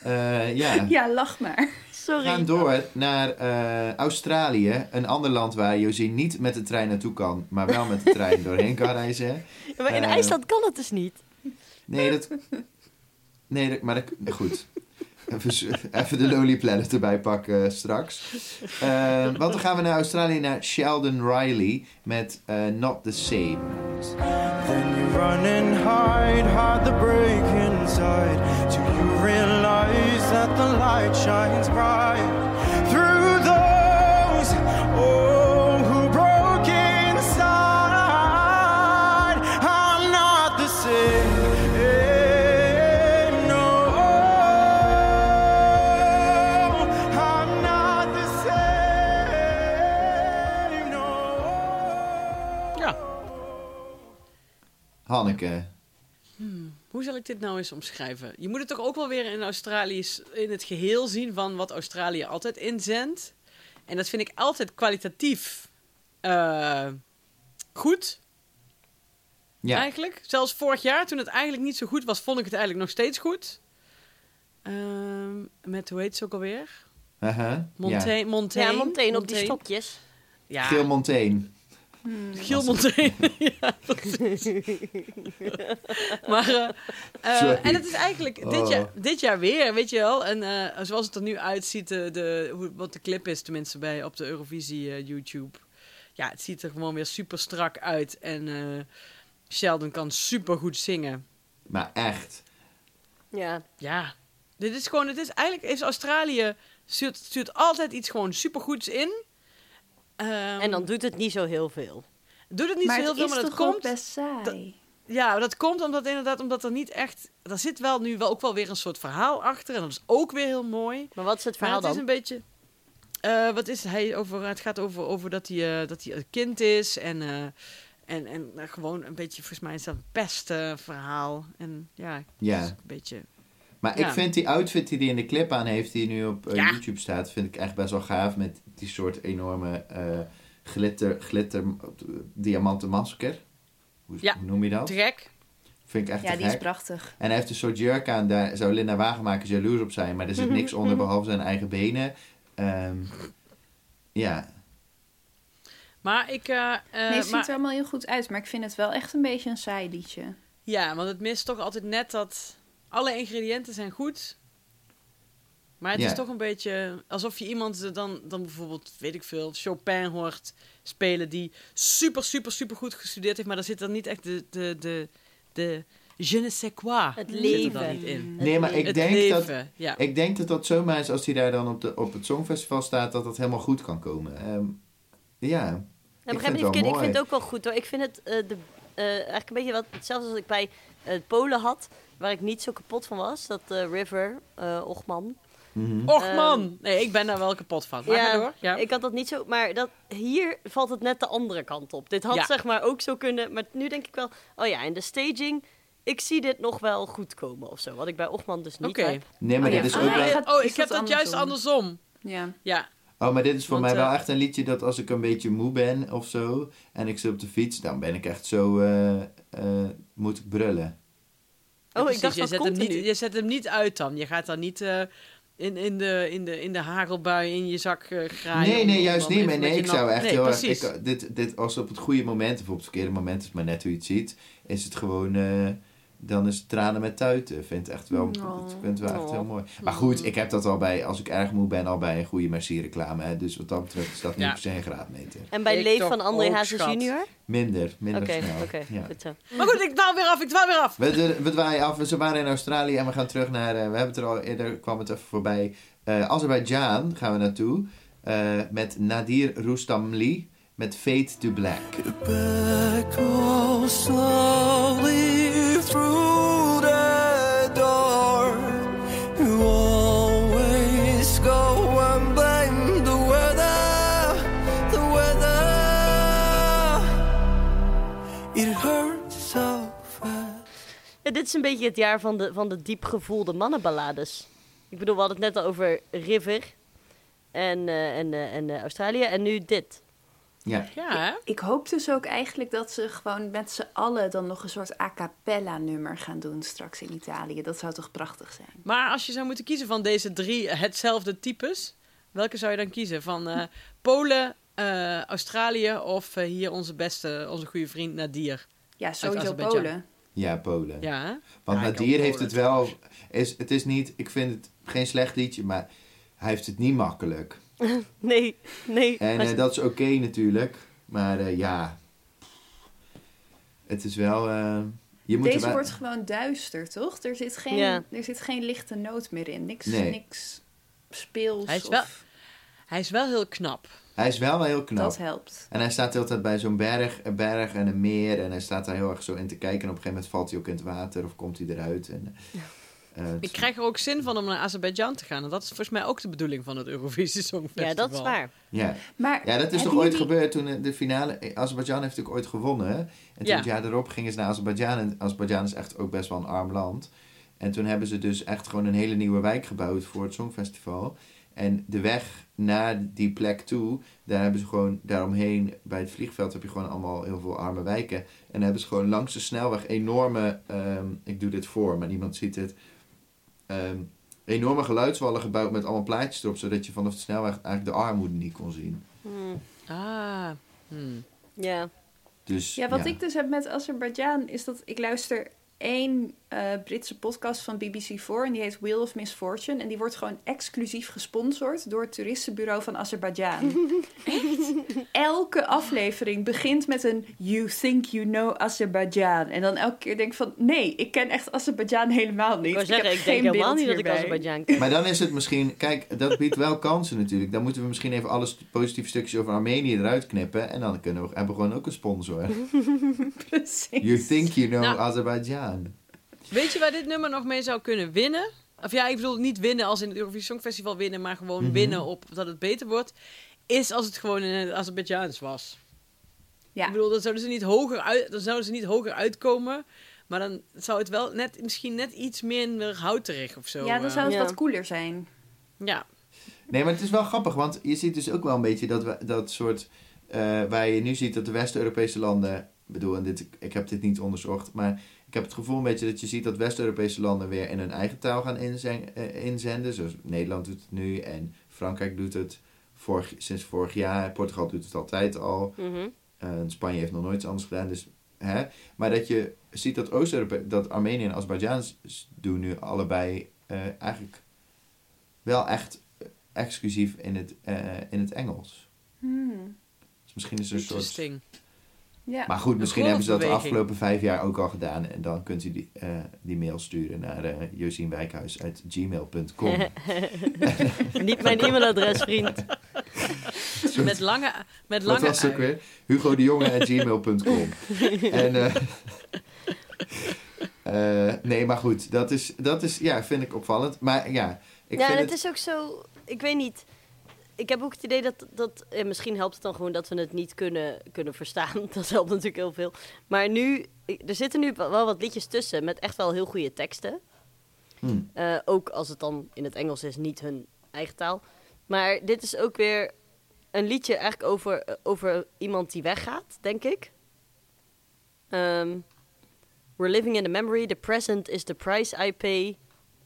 [SPEAKER 1] Eh, ja.
[SPEAKER 2] ja, lach maar.
[SPEAKER 1] We gaan
[SPEAKER 4] Sorry.
[SPEAKER 1] door naar eh, Australië, een ander land waar José niet met de trein naartoe kan, maar wel met de trein doorheen kan reizen.
[SPEAKER 4] Maar in
[SPEAKER 1] Eh,
[SPEAKER 4] IJsland kan het dus niet.
[SPEAKER 1] Nee, dat. Nee, dat, maar dat. Goed. Even, z- even de Lonely Planet erbij pakken straks. Eh, want dan gaan we naar Australië, naar Sheldon Riley met eh, Not the Same.
[SPEAKER 8] Then you run and hide, hide the break inside. Till you realize that the light shines bright through those oh, who broke inside. I'm
[SPEAKER 1] Hanneke.
[SPEAKER 3] Hoe zal ik dit nou eens omschrijven? Je moet het toch ook wel weer in Australië s- in het geheel zien van wat Australië altijd inzendt. En dat vind ik altijd kwalitatief eh, goed,
[SPEAKER 1] Ja.
[SPEAKER 3] eigenlijk. Zelfs vorig jaar, toen het eigenlijk niet zo goed was, vond ik het eigenlijk nog steeds goed. Ehm, met, hoe heet ze ook alweer?
[SPEAKER 1] Uh-huh.
[SPEAKER 3] Montaigne. Montaigne.
[SPEAKER 4] Ja, Montaigne op die
[SPEAKER 3] Montaigne.
[SPEAKER 4] stokjes.
[SPEAKER 1] Ja.
[SPEAKER 3] Ja,
[SPEAKER 1] Geel Montaigne.
[SPEAKER 3] Gil Montaigne. ja, precies. maar, eh, eh,
[SPEAKER 1] Sorry.
[SPEAKER 3] en het is eigenlijk dit,
[SPEAKER 1] Oh.
[SPEAKER 3] jaar, dit jaar weer, weet je wel. En eh, zoals het er nu uitziet, eh, de, hoe, wat de clip is tenminste bij, op de Eurovisie eh, YouTube. Ja, het ziet er gewoon weer super strak uit. En eh, Sheldon kan super goed zingen.
[SPEAKER 1] Maar echt.
[SPEAKER 4] Ja.
[SPEAKER 3] Ja, dit is gewoon, het is eigenlijk, is Australië, stuurt, stuurt altijd iets gewoon super goeds in. Ehm,
[SPEAKER 4] En dan doet het niet zo heel veel.
[SPEAKER 3] doet het niet
[SPEAKER 2] maar
[SPEAKER 3] zo heel
[SPEAKER 2] het
[SPEAKER 3] veel,
[SPEAKER 2] is
[SPEAKER 3] maar dat
[SPEAKER 2] toch ook
[SPEAKER 3] komt.
[SPEAKER 2] best saai.
[SPEAKER 3] Ja, maar dat komt omdat inderdaad, omdat er niet echt. Er zit wel nu wel ook wel weer een soort verhaal achter. En dat is ook weer heel mooi.
[SPEAKER 4] Maar wat is het
[SPEAKER 3] Maar
[SPEAKER 4] verhaal
[SPEAKER 3] het is
[SPEAKER 4] dan?
[SPEAKER 3] een beetje. eh, wat is hij over? Het gaat over, over dat, hij, eh, dat hij een kind is. En, eh, en, en nou, gewoon een beetje, volgens mij is dat een pestverhaal. En ja, het
[SPEAKER 1] Ja.
[SPEAKER 3] is een beetje.
[SPEAKER 1] Maar
[SPEAKER 3] Dus- Ja.
[SPEAKER 1] ik vind die outfit die hij in de clip aan heeft, die nu op eh,
[SPEAKER 3] Ja.
[SPEAKER 1] YouTube staat, vind ik echt best wel gaaf. Met die soort enorme eh, glitter, glitter eh, diamanten masker. Hoe,
[SPEAKER 3] Ja.
[SPEAKER 1] hoe noem je dat?
[SPEAKER 3] Te gek.
[SPEAKER 1] Vind ik echt
[SPEAKER 2] Ja,
[SPEAKER 1] te
[SPEAKER 2] die is
[SPEAKER 1] gek.
[SPEAKER 2] prachtig.
[SPEAKER 1] En hij heeft een soort jurk aan, daar zou Linda Wagenmaker jaloers op zijn. Maar er zit niks onder behalve zijn eigen benen. Ehm, ja,
[SPEAKER 3] Maar ik. eh, eh,
[SPEAKER 2] Nee, het ziet
[SPEAKER 3] maar-
[SPEAKER 2] er allemaal heel goed uit, maar ik vind het wel echt een beetje een saai liedje.
[SPEAKER 3] Ja, want het mist toch altijd net dat alle ingrediënten zijn goed. Maar het
[SPEAKER 1] Ja.
[SPEAKER 3] is toch een beetje alsof je iemand dan, dan bijvoorbeeld, weet ik veel, Chopin hoort spelen die super, super, super goed gestudeerd heeft. Maar daar zit dan niet echt de, de, de, de je ne sais quoi.
[SPEAKER 4] Het
[SPEAKER 3] Zit er dan
[SPEAKER 4] leven.
[SPEAKER 3] niet in.
[SPEAKER 1] Nee, maar ik
[SPEAKER 3] het
[SPEAKER 1] denk
[SPEAKER 3] leven,
[SPEAKER 1] dat-
[SPEAKER 3] ja.
[SPEAKER 1] ik denk dat dat zomaar is als hij daar dan op, de, op het Songfestival staat, dat dat helemaal goed kan komen. Ehm, ja,
[SPEAKER 4] Ja,
[SPEAKER 1] Ik
[SPEAKER 4] begrijp
[SPEAKER 1] vind
[SPEAKER 4] me
[SPEAKER 1] het
[SPEAKER 4] niet verkeerd,
[SPEAKER 1] wel
[SPEAKER 4] ik vind het
[SPEAKER 1] mooi.
[SPEAKER 4] ook wel goed hoor. Ik vind het eh, de, eh, eigenlijk een beetje wat, hetzelfde als ik bij eh, Polen had, waar ik niet zo kapot van was. Dat eh, River, eh Ochman.
[SPEAKER 1] mhm.
[SPEAKER 3] Och man! Nee, ik ben daar wel kapot van. Maar ga door. Ja.
[SPEAKER 4] ik had dat niet zo, maar dat, hier valt het net de andere kant op. Dit had
[SPEAKER 3] Ja.
[SPEAKER 4] zeg maar ook zo kunnen, maar nu denk ik wel, oh ja, en de staging, ik zie dit nog wel goed komen of zo. Wat ik bij Ochman dus niet
[SPEAKER 3] Oké.
[SPEAKER 4] heb.
[SPEAKER 1] nee, maar
[SPEAKER 2] Oh, ja.
[SPEAKER 1] dit is
[SPEAKER 2] Ah,
[SPEAKER 1] ook wel...
[SPEAKER 2] ja. gaat-
[SPEAKER 3] oh,
[SPEAKER 2] is
[SPEAKER 3] ik heb
[SPEAKER 2] dat
[SPEAKER 3] dat juist
[SPEAKER 2] andersom?
[SPEAKER 3] andersom.
[SPEAKER 2] Ja.
[SPEAKER 3] Ja.
[SPEAKER 1] Oh, maar dit is voor
[SPEAKER 3] Want,
[SPEAKER 1] mij wel
[SPEAKER 3] eh,
[SPEAKER 1] echt een liedje dat als ik een beetje moe ben of zo en ik zit op de fiets, dan ben ik echt zo, eh, eh, moet ik brullen.
[SPEAKER 4] Oh,
[SPEAKER 3] Precies,
[SPEAKER 4] ik dacht,
[SPEAKER 3] je
[SPEAKER 4] wat
[SPEAKER 3] zet,
[SPEAKER 4] komt
[SPEAKER 3] hem
[SPEAKER 4] er
[SPEAKER 3] niet,
[SPEAKER 4] nu?
[SPEAKER 3] je zet hem niet uit dan. Je gaat dan niet eh, in, in, de, in, de, in de hagelbui in je zak eh graaien.
[SPEAKER 1] nee,
[SPEAKER 3] om-
[SPEAKER 1] nee,
[SPEAKER 3] om
[SPEAKER 1] juist
[SPEAKER 3] dan
[SPEAKER 1] niet. Maar
[SPEAKER 3] even met
[SPEAKER 1] nee,
[SPEAKER 3] je
[SPEAKER 1] ik
[SPEAKER 3] nat-
[SPEAKER 1] zou echt
[SPEAKER 3] nee,
[SPEAKER 1] heel erg.
[SPEAKER 3] precies.
[SPEAKER 1] ik- dit, dit, als op het goede moment of op het verkeerde moment, is maar net hoe je het ziet, is het gewoon. eh, dan is het tranen met tuiten. Ik vind het echt wel,
[SPEAKER 2] Oh.
[SPEAKER 1] ik vind het wel echt
[SPEAKER 4] Oh.
[SPEAKER 1] heel mooi. Maar goed, ik heb dat al bij, als ik erg moe ben, al bij een goede merci reclame. Hè? Dus wat dat betreft is dat niet
[SPEAKER 3] Ja.
[SPEAKER 1] per se een graadmeter.
[SPEAKER 4] En bij
[SPEAKER 3] Ik
[SPEAKER 4] Leef
[SPEAKER 3] toch
[SPEAKER 4] van André
[SPEAKER 3] ook,
[SPEAKER 4] Hazes
[SPEAKER 3] schat.
[SPEAKER 4] junior?
[SPEAKER 1] Minder, minder
[SPEAKER 4] Oké,
[SPEAKER 1] snel.
[SPEAKER 4] oké,
[SPEAKER 1] Ja.
[SPEAKER 4] goed zo.
[SPEAKER 3] Maar goed, ik dwaal weer af, ik dwaal weer af.
[SPEAKER 1] We, de- we dwaaien af. Ze waren in Australië en we gaan terug naar... eh, we hebben het er al eerder, kwam het even voorbij. Eh Azerbeidzjan gaan we naartoe. eh, met Nadir Roustamli. Met Fade to Black.
[SPEAKER 8] echo slowly through the door. You always go and blame the weather, the weather. It hurts so bad.
[SPEAKER 4] Ja, dit is een beetje het jaar van de, van de diepgevoelde mannenballades. Ik bedoel, we hadden het net al over River en, eh, en, eh, en eh, Australië. En nu dit.
[SPEAKER 1] Ja.
[SPEAKER 3] Ja, hè?
[SPEAKER 2] Ik hoop dus ook eigenlijk dat ze gewoon met z'n allen dan nog een soort a cappella nummer gaan doen straks in Italië. Dat zou toch prachtig zijn?
[SPEAKER 3] Maar als je zou moeten kiezen van deze drie hetzelfde types, welke zou je dan kiezen? Van eh, Polen, eh, Australië of eh, hier onze beste, onze goede vriend Nadir?
[SPEAKER 2] Ja, sowieso
[SPEAKER 3] Azerbeidzjan.
[SPEAKER 2] Polen.
[SPEAKER 1] Ja, Polen.
[SPEAKER 3] Ja, hè?
[SPEAKER 1] Want
[SPEAKER 3] Ja, ik
[SPEAKER 1] Nadir
[SPEAKER 3] ook
[SPEAKER 1] heeft
[SPEAKER 3] Polen.
[SPEAKER 1] het wel... Is, het is niet... Ik vind het geen slecht liedje, maar... Hij heeft het niet makkelijk.
[SPEAKER 4] Nee, nee.
[SPEAKER 1] En
[SPEAKER 4] Maar-
[SPEAKER 1] eh, dat is oké natuurlijk. Maar eh, ja... Het is wel... eh, je moet er
[SPEAKER 2] Deze
[SPEAKER 1] wel-
[SPEAKER 2] wordt gewoon duister, toch? Er zit geen,
[SPEAKER 4] Ja.
[SPEAKER 2] er zit geen lichte noot meer in. Niks,
[SPEAKER 1] Nee.
[SPEAKER 2] niks speels.
[SPEAKER 3] Hij is
[SPEAKER 2] of-
[SPEAKER 3] wel Hij is wel heel knap.
[SPEAKER 1] Hij is wel heel knap.
[SPEAKER 2] Dat helpt.
[SPEAKER 1] En hij staat de hele tijd bij zo'n berg, een berg en een meer. En hij staat daar heel erg zo in te kijken. En op een gegeven moment valt hij ook in het water of komt hij eruit. En, Eh, het-
[SPEAKER 3] Ik krijg er ook zin van om naar Azerbeidzjan te gaan. En dat is volgens mij ook de bedoeling van het Eurovisie Songfestival.
[SPEAKER 4] Ja, dat is waar.
[SPEAKER 1] ja.
[SPEAKER 2] Maar
[SPEAKER 1] ja, dat is
[SPEAKER 2] hebben
[SPEAKER 1] toch ooit
[SPEAKER 2] jullie-
[SPEAKER 1] gebeurd toen eh, de finale... eh, Azerbeidzjan heeft natuurlijk ooit gewonnen. hè? En toen
[SPEAKER 3] Ja.
[SPEAKER 1] het jaar erop gingen ze naar Azerbeidzjan. En Azerbeidzjan is echt ook best wel een arm land. En toen hebben ze dus echt gewoon een hele nieuwe wijk gebouwd voor het Songfestival. En de weg naar die plek toe, daar hebben ze gewoon daaromheen... Bij het vliegveld heb je gewoon allemaal heel veel arme wijken. En daar hebben ze gewoon langs de snelweg enorme... ehm, ik doe dit voor, maar niemand ziet het. ehm, enorme geluidswallen gebouwd met allemaal plaatjes erop. Zodat je vanaf de snelweg eigenlijk de armoede niet kon zien.
[SPEAKER 4] Hmm,
[SPEAKER 3] Ah, hmm.
[SPEAKER 4] Ja.
[SPEAKER 1] Dus,
[SPEAKER 2] Ja, wat ik dus heb met Azerbeidzjan is dat ik luister één eh, Britse podcast van BBC4 en die heet Wheel of Misfortune. En die wordt gewoon exclusief gesponsord door het toeristenbureau van Azerbeidzjan. Elke aflevering begint met een You think you know Azerbeidzjan. En dan elke keer denk ik van nee, ik ken echt Azerbeidzjan helemaal niet.
[SPEAKER 4] Ik wou zeggen,
[SPEAKER 2] heb
[SPEAKER 4] ik denk
[SPEAKER 2] geen
[SPEAKER 4] helemaal
[SPEAKER 2] beeld
[SPEAKER 4] niet dat ik
[SPEAKER 2] hierbij.
[SPEAKER 4] Azerbeidzjan
[SPEAKER 1] Maar dan is het misschien... Kijk, dat biedt wel kansen natuurlijk. Dan moeten we misschien even alle st- positieve stukjes over Armenië eruit knippen. En dan kunnen we, hebben we gewoon ook een sponsor.
[SPEAKER 2] Precies.
[SPEAKER 1] You think you know
[SPEAKER 3] Nou.
[SPEAKER 1] Azerbeidzjan.
[SPEAKER 3] Weet je waar dit nummer nog mee zou kunnen winnen? Of ja, ik bedoel niet winnen als in het Eurovisie Songfestival winnen, maar gewoon
[SPEAKER 1] Mhm.
[SPEAKER 3] winnen op dat het beter wordt. Is als het gewoon in het Azerbeidzjaans was.
[SPEAKER 2] Ja.
[SPEAKER 3] Ik bedoel, dan zouden, ze niet hoger uit, dan zouden ze niet hoger uitkomen. Maar dan zou het wel net, misschien net iets minder houterig of zo.
[SPEAKER 2] ja, dan
[SPEAKER 3] eh.
[SPEAKER 2] zou het
[SPEAKER 4] uh, Ja.
[SPEAKER 2] wat cooler zijn.
[SPEAKER 3] Ja,
[SPEAKER 1] Nee, maar het is wel grappig. Want je ziet dus ook wel een beetje dat, we, dat soort... eh, waar je nu ziet dat de West-Europese landen... Ik bedoel, en dit, ik heb dit niet onderzocht. Maar ik heb het gevoel een beetje dat je ziet dat West-Europese landen weer in hun eigen taal gaan inzen- eh, inzenden. Zoals Nederland doet het nu en Frankrijk doet het vorig, sinds vorig jaar. Portugal doet het altijd al.
[SPEAKER 4] Mhm.
[SPEAKER 1] Eh, Spanje heeft nog nooit iets anders gedaan. Dus, hè? Maar dat je ziet dat Oost-Europa, dat Armenië en Azerbeidzjan s- doen nu allebei eh, eigenlijk wel echt exclusief in het, eh, in het Engels.
[SPEAKER 2] Hmm.
[SPEAKER 1] Dus misschien is er een soort.
[SPEAKER 3] interesting.
[SPEAKER 2] Ja.
[SPEAKER 1] Maar goed, misschien
[SPEAKER 3] Een
[SPEAKER 1] hebben ze dat de
[SPEAKER 3] golfbeweging.
[SPEAKER 1] afgelopen vijf jaar ook al gedaan. En dan kunt u die, eh, die mail sturen naar eh josienwijkhuis.gmail.com.
[SPEAKER 4] Niet mijn e-mailadres, vriend.
[SPEAKER 3] Met lange, met
[SPEAKER 1] Wat
[SPEAKER 3] lange
[SPEAKER 1] was het ook
[SPEAKER 3] ui.
[SPEAKER 1] weer? Hugo de Jonge at gmail.com. en, eh, eh, nee, maar goed, dat is, dat is, ja, vind ik opvallend. Maar ja, ik
[SPEAKER 4] ja, en
[SPEAKER 1] vind
[SPEAKER 4] het
[SPEAKER 1] het...
[SPEAKER 4] is ook zo... Ik weet niet. Ik heb ook het idee dat... dat eh, misschien helpt het dan gewoon dat we het niet kunnen, kunnen verstaan. Dat helpt natuurlijk heel veel. Maar nu... ik- Er zitten nu wel wat liedjes tussen met echt wel heel goede teksten.
[SPEAKER 1] Hm.
[SPEAKER 2] Hmm.
[SPEAKER 4] Eh, ook als het dan in het Engels is, niet hun eigen taal. Maar dit is ook weer een liedje eigenlijk over, eh, over iemand die weggaat, denk ik. Ehm, we're living in the memory. The present is the price I pay.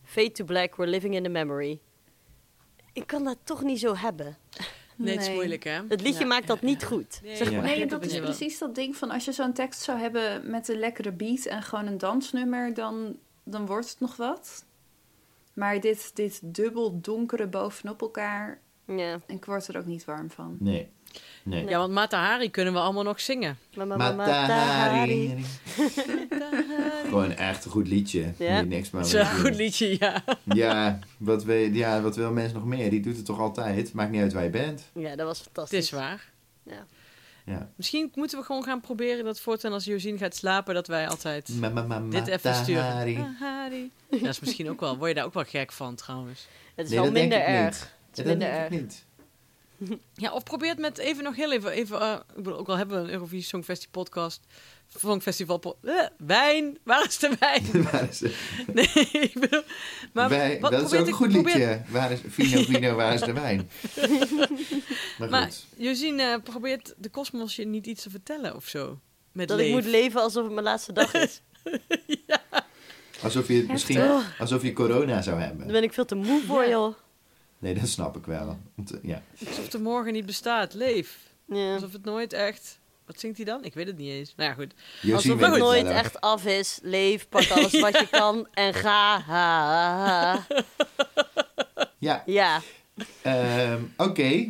[SPEAKER 4] Fade to black. We're living in the memory. Ik kan dat toch niet zo hebben.
[SPEAKER 3] Nee, het is
[SPEAKER 2] Nee.
[SPEAKER 3] moeilijk, hè?
[SPEAKER 4] Het liedje
[SPEAKER 3] Ja.
[SPEAKER 4] maakt dat niet goed.
[SPEAKER 3] Nee,
[SPEAKER 4] zeg
[SPEAKER 3] ja.
[SPEAKER 4] maar.
[SPEAKER 2] Nee,
[SPEAKER 3] Ja,
[SPEAKER 2] en
[SPEAKER 3] dat
[SPEAKER 2] dat
[SPEAKER 3] is
[SPEAKER 2] is
[SPEAKER 3] wel.
[SPEAKER 2] precies dat ding van als je zo'n tekst zou hebben met een lekkere beat en gewoon een dansnummer, dan, dan wordt het nog wat. Maar dit, dit dubbel donkere bovenop elkaar,
[SPEAKER 4] Ja.
[SPEAKER 2] ik word er ook niet warm van.
[SPEAKER 1] Nee, nee.
[SPEAKER 3] Ja, want Matahari kunnen we allemaal nog zingen.
[SPEAKER 4] Ma- ma- ma- ma-
[SPEAKER 1] Matahari.
[SPEAKER 4] tahari.
[SPEAKER 1] Gewoon echt een goed liedje.
[SPEAKER 4] Ja.
[SPEAKER 1] Niet niks maar
[SPEAKER 3] Dat is wel een goed liedje, ja.
[SPEAKER 1] Ja, wat, we, ja, wat wil mensen nog meer? Die doet het toch altijd? Maakt niet uit waar je bent.
[SPEAKER 4] Ja, dat was fantastisch.
[SPEAKER 3] Het is waar.
[SPEAKER 4] Ja.
[SPEAKER 1] Ja.
[SPEAKER 3] Misschien moeten we gewoon gaan proberen dat voortaan als Josien gaat slapen, dat wij altijd...
[SPEAKER 1] Ma, ma, ma,
[SPEAKER 3] Dit even
[SPEAKER 1] Matahari.
[SPEAKER 3] sturen.
[SPEAKER 4] Ah,
[SPEAKER 3] Matahari. Ja, Dat is misschien ook wel... Word je daar ook wel gek van, trouwens.
[SPEAKER 4] Het is
[SPEAKER 1] Nee,
[SPEAKER 4] wel
[SPEAKER 1] dat denk
[SPEAKER 4] minder
[SPEAKER 1] ik niet.
[SPEAKER 4] erg. Het
[SPEAKER 1] Ja,
[SPEAKER 4] is
[SPEAKER 1] dat
[SPEAKER 4] minder
[SPEAKER 1] denk ik
[SPEAKER 4] erg.
[SPEAKER 1] niet.
[SPEAKER 3] Ja, of probeer het met even nog heel even... even eh, ik bedoel, ook al hebben we een Eurovisie Songfestival podcast... Songfestival... po- eh, wijn! Waar is de wijn?
[SPEAKER 1] Waar is het?
[SPEAKER 3] Nee, ik bedoel... Maar
[SPEAKER 1] Wij-
[SPEAKER 3] wat
[SPEAKER 1] dat is
[SPEAKER 3] probeert
[SPEAKER 1] ook een
[SPEAKER 3] ik-
[SPEAKER 1] goed
[SPEAKER 3] probeert-
[SPEAKER 1] liedje. Waar is, vino, vino, waar is de wijn? maar
[SPEAKER 3] Maar
[SPEAKER 1] goed.
[SPEAKER 3] Josien eh, probeert de kosmos je niet iets te vertellen of zo. Met
[SPEAKER 4] Dat ik
[SPEAKER 3] leef.
[SPEAKER 4] moet leven alsof het mijn laatste dag is.
[SPEAKER 1] Alsof je, het misschien,
[SPEAKER 4] eh,
[SPEAKER 1] alsof je corona zou
[SPEAKER 4] Dan
[SPEAKER 1] hebben.
[SPEAKER 4] ben ik veel te moe voor,
[SPEAKER 3] Ja.
[SPEAKER 4] joh.
[SPEAKER 1] Nee, dat snap ik wel. Want, eh, ja.
[SPEAKER 3] Alsof de morgen niet bestaat. Leef.
[SPEAKER 4] Ja.
[SPEAKER 3] Alsof het nooit echt... Wat zingt hij dan? Ik weet het niet eens. Nou ja, goed.
[SPEAKER 1] Josien
[SPEAKER 4] Alsof
[SPEAKER 1] weet
[SPEAKER 4] het
[SPEAKER 1] het
[SPEAKER 4] nooit
[SPEAKER 1] wel.
[SPEAKER 4] echt af is. Leef, pak alles wat je kan en ga. Ha, ha, ha.
[SPEAKER 1] Ja,
[SPEAKER 4] Ja,
[SPEAKER 1] ehm, oké. Eh,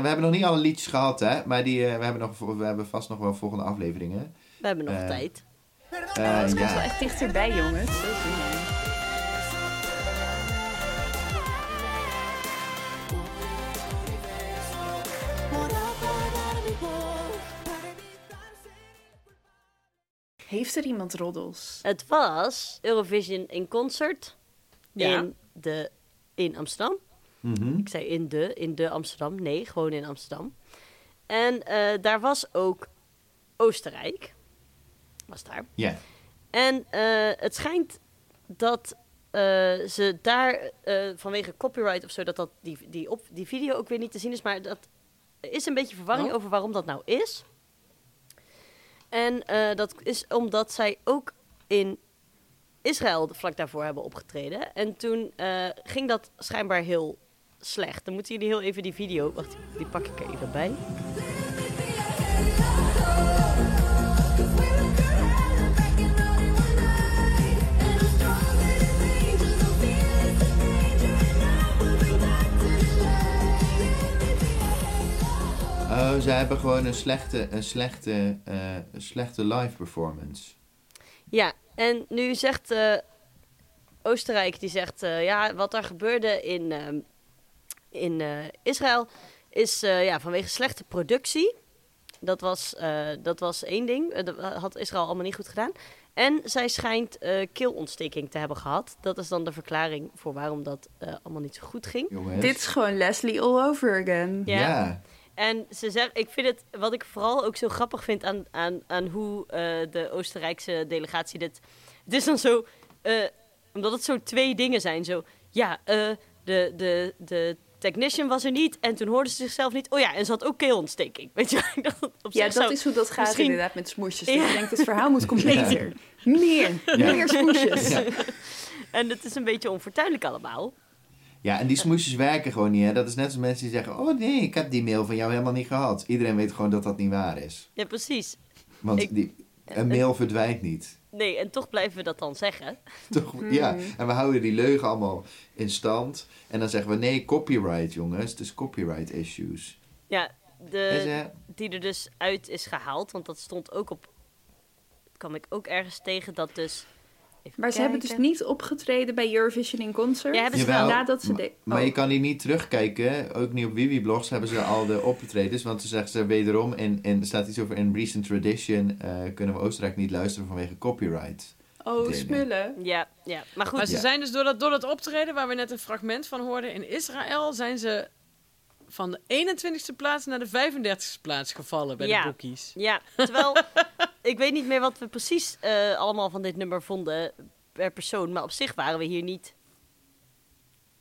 [SPEAKER 1] we hebben nog niet alle liedjes gehad, hè? Maar die, eh, we, hebben nog, we hebben vast nog wel volgende afleveringen.
[SPEAKER 4] we hebben nog
[SPEAKER 1] Eh.
[SPEAKER 4] tijd.
[SPEAKER 1] Eh,
[SPEAKER 2] Het komt wel
[SPEAKER 1] ja.
[SPEAKER 2] echt dichterbij, jongens. Dat is niet. Heeft er iemand roddels?
[SPEAKER 4] Het was Eurovision in concert
[SPEAKER 3] Ja.
[SPEAKER 4] in, de, in Amsterdam.
[SPEAKER 1] Mhm.
[SPEAKER 4] Ik zei in de, in de Amsterdam. Nee, gewoon in Amsterdam. En eh, daar was ook Oostenrijk. Was daar.
[SPEAKER 1] Ja.
[SPEAKER 4] En eh, het schijnt dat eh, ze daar eh, vanwege copyright of zo, dat, dat die, die, op, die video ook weer niet te zien is. Maar dat er is een beetje verwarring over waarom dat nou is. En eh, dat is omdat zij ook in Israël vlak daarvoor hebben opgetreden. En toen eh, ging dat schijnbaar heel slecht. Dan moeten jullie heel even die video. Wacht, die pak ik er even bij.
[SPEAKER 1] Oh, ze hebben gewoon een slechte, een slechte, eh, een slechte live performance.
[SPEAKER 4] Ja, en nu zegt eh, Oostenrijk, die zegt, eh, ja, wat er gebeurde in, ehm, in eh, Israël is eh, ja, vanwege slechte productie. Dat was, eh, dat was één ding. Eh, dat had Israël allemaal niet goed gedaan. En zij schijnt eh, keelontsteking te hebben gehad. Dat is dan de verklaring voor waarom dat eh, allemaal niet zo goed ging.
[SPEAKER 1] Jongens.
[SPEAKER 2] Dit is gewoon Leslie all over again.
[SPEAKER 1] Ja. Ja.
[SPEAKER 4] En ze zegt, ik vind het, wat ik vooral ook zo grappig vind aan, aan, aan hoe eh, de Oostenrijkse delegatie dit. Het is dan zo, eh, omdat het zo twee dingen zijn. Zo, ja, eh, de, de, de technician was er niet en toen hoorde ze zichzelf niet. Oh ja, en ze had ook keelontsteking. Weet je, ik dacht, op
[SPEAKER 2] Ja,
[SPEAKER 4] zich
[SPEAKER 2] dat
[SPEAKER 4] zou-
[SPEAKER 2] is hoe dat gaat
[SPEAKER 4] misschien-
[SPEAKER 2] inderdaad met smoesjes. Dat
[SPEAKER 4] Ja.
[SPEAKER 2] je denkt, het verhaal moet completer. Meer,
[SPEAKER 1] Ja.
[SPEAKER 2] meer smoesjes.
[SPEAKER 4] En het is een beetje onfortuinlijk allemaal.
[SPEAKER 1] en die smoesjes werken gewoon niet. Hè? Dat is net als mensen die zeggen: Oh nee, ik heb die mail van jou helemaal niet gehad. Iedereen weet gewoon dat dat niet waar is.
[SPEAKER 4] Ja, precies.
[SPEAKER 1] Want
[SPEAKER 4] Ik-
[SPEAKER 1] die, een mail verdwijnt niet.
[SPEAKER 4] Nee, en toch blijven we dat dan zeggen.
[SPEAKER 1] Toch? Ja. En we houden die leugen allemaal in stand. En dan zeggen we: Nee, copyright, jongens. Dus copyright issues.
[SPEAKER 4] Ja,
[SPEAKER 1] Dus,
[SPEAKER 4] de,
[SPEAKER 1] eh,
[SPEAKER 4] die er dus uit is gehaald. Want dat stond ook op. kwam ik ook ergens tegen dat dus. Even
[SPEAKER 2] Maar ze hebben dus
[SPEAKER 4] kijken.
[SPEAKER 2] niet opgetreden bij Eurovision in Concert.
[SPEAKER 4] Ja, hebben ze
[SPEAKER 1] Jawel,
[SPEAKER 4] wel.
[SPEAKER 2] Nadat ze
[SPEAKER 1] ma-
[SPEAKER 2] de-
[SPEAKER 1] Maar
[SPEAKER 2] Oh.
[SPEAKER 1] je kan die niet terugkijken. Ook niet op Wiwiblogs hebben ze al de optredens. Want ze zeggen ze wederom, en, en er staat iets over in recent tradition, eh, kunnen we Oostenrijk niet luisteren vanwege copyright.
[SPEAKER 2] Oh,
[SPEAKER 1] Dingen.
[SPEAKER 2] smullen.
[SPEAKER 4] Ja, ja, maar goed.
[SPEAKER 3] Maar ze
[SPEAKER 1] Ja.
[SPEAKER 3] zijn dus door dat, door dat optreden, waar we net een fragment van hoorden in Israël, zijn ze van de 21ste plaats naar de 35ste plaats gevallen bij
[SPEAKER 4] Ja.
[SPEAKER 3] de bookies.
[SPEAKER 4] Ja, terwijl ik weet niet meer wat we precies eh, allemaal van dit nummer vonden per persoon. Maar op zich waren we hier niet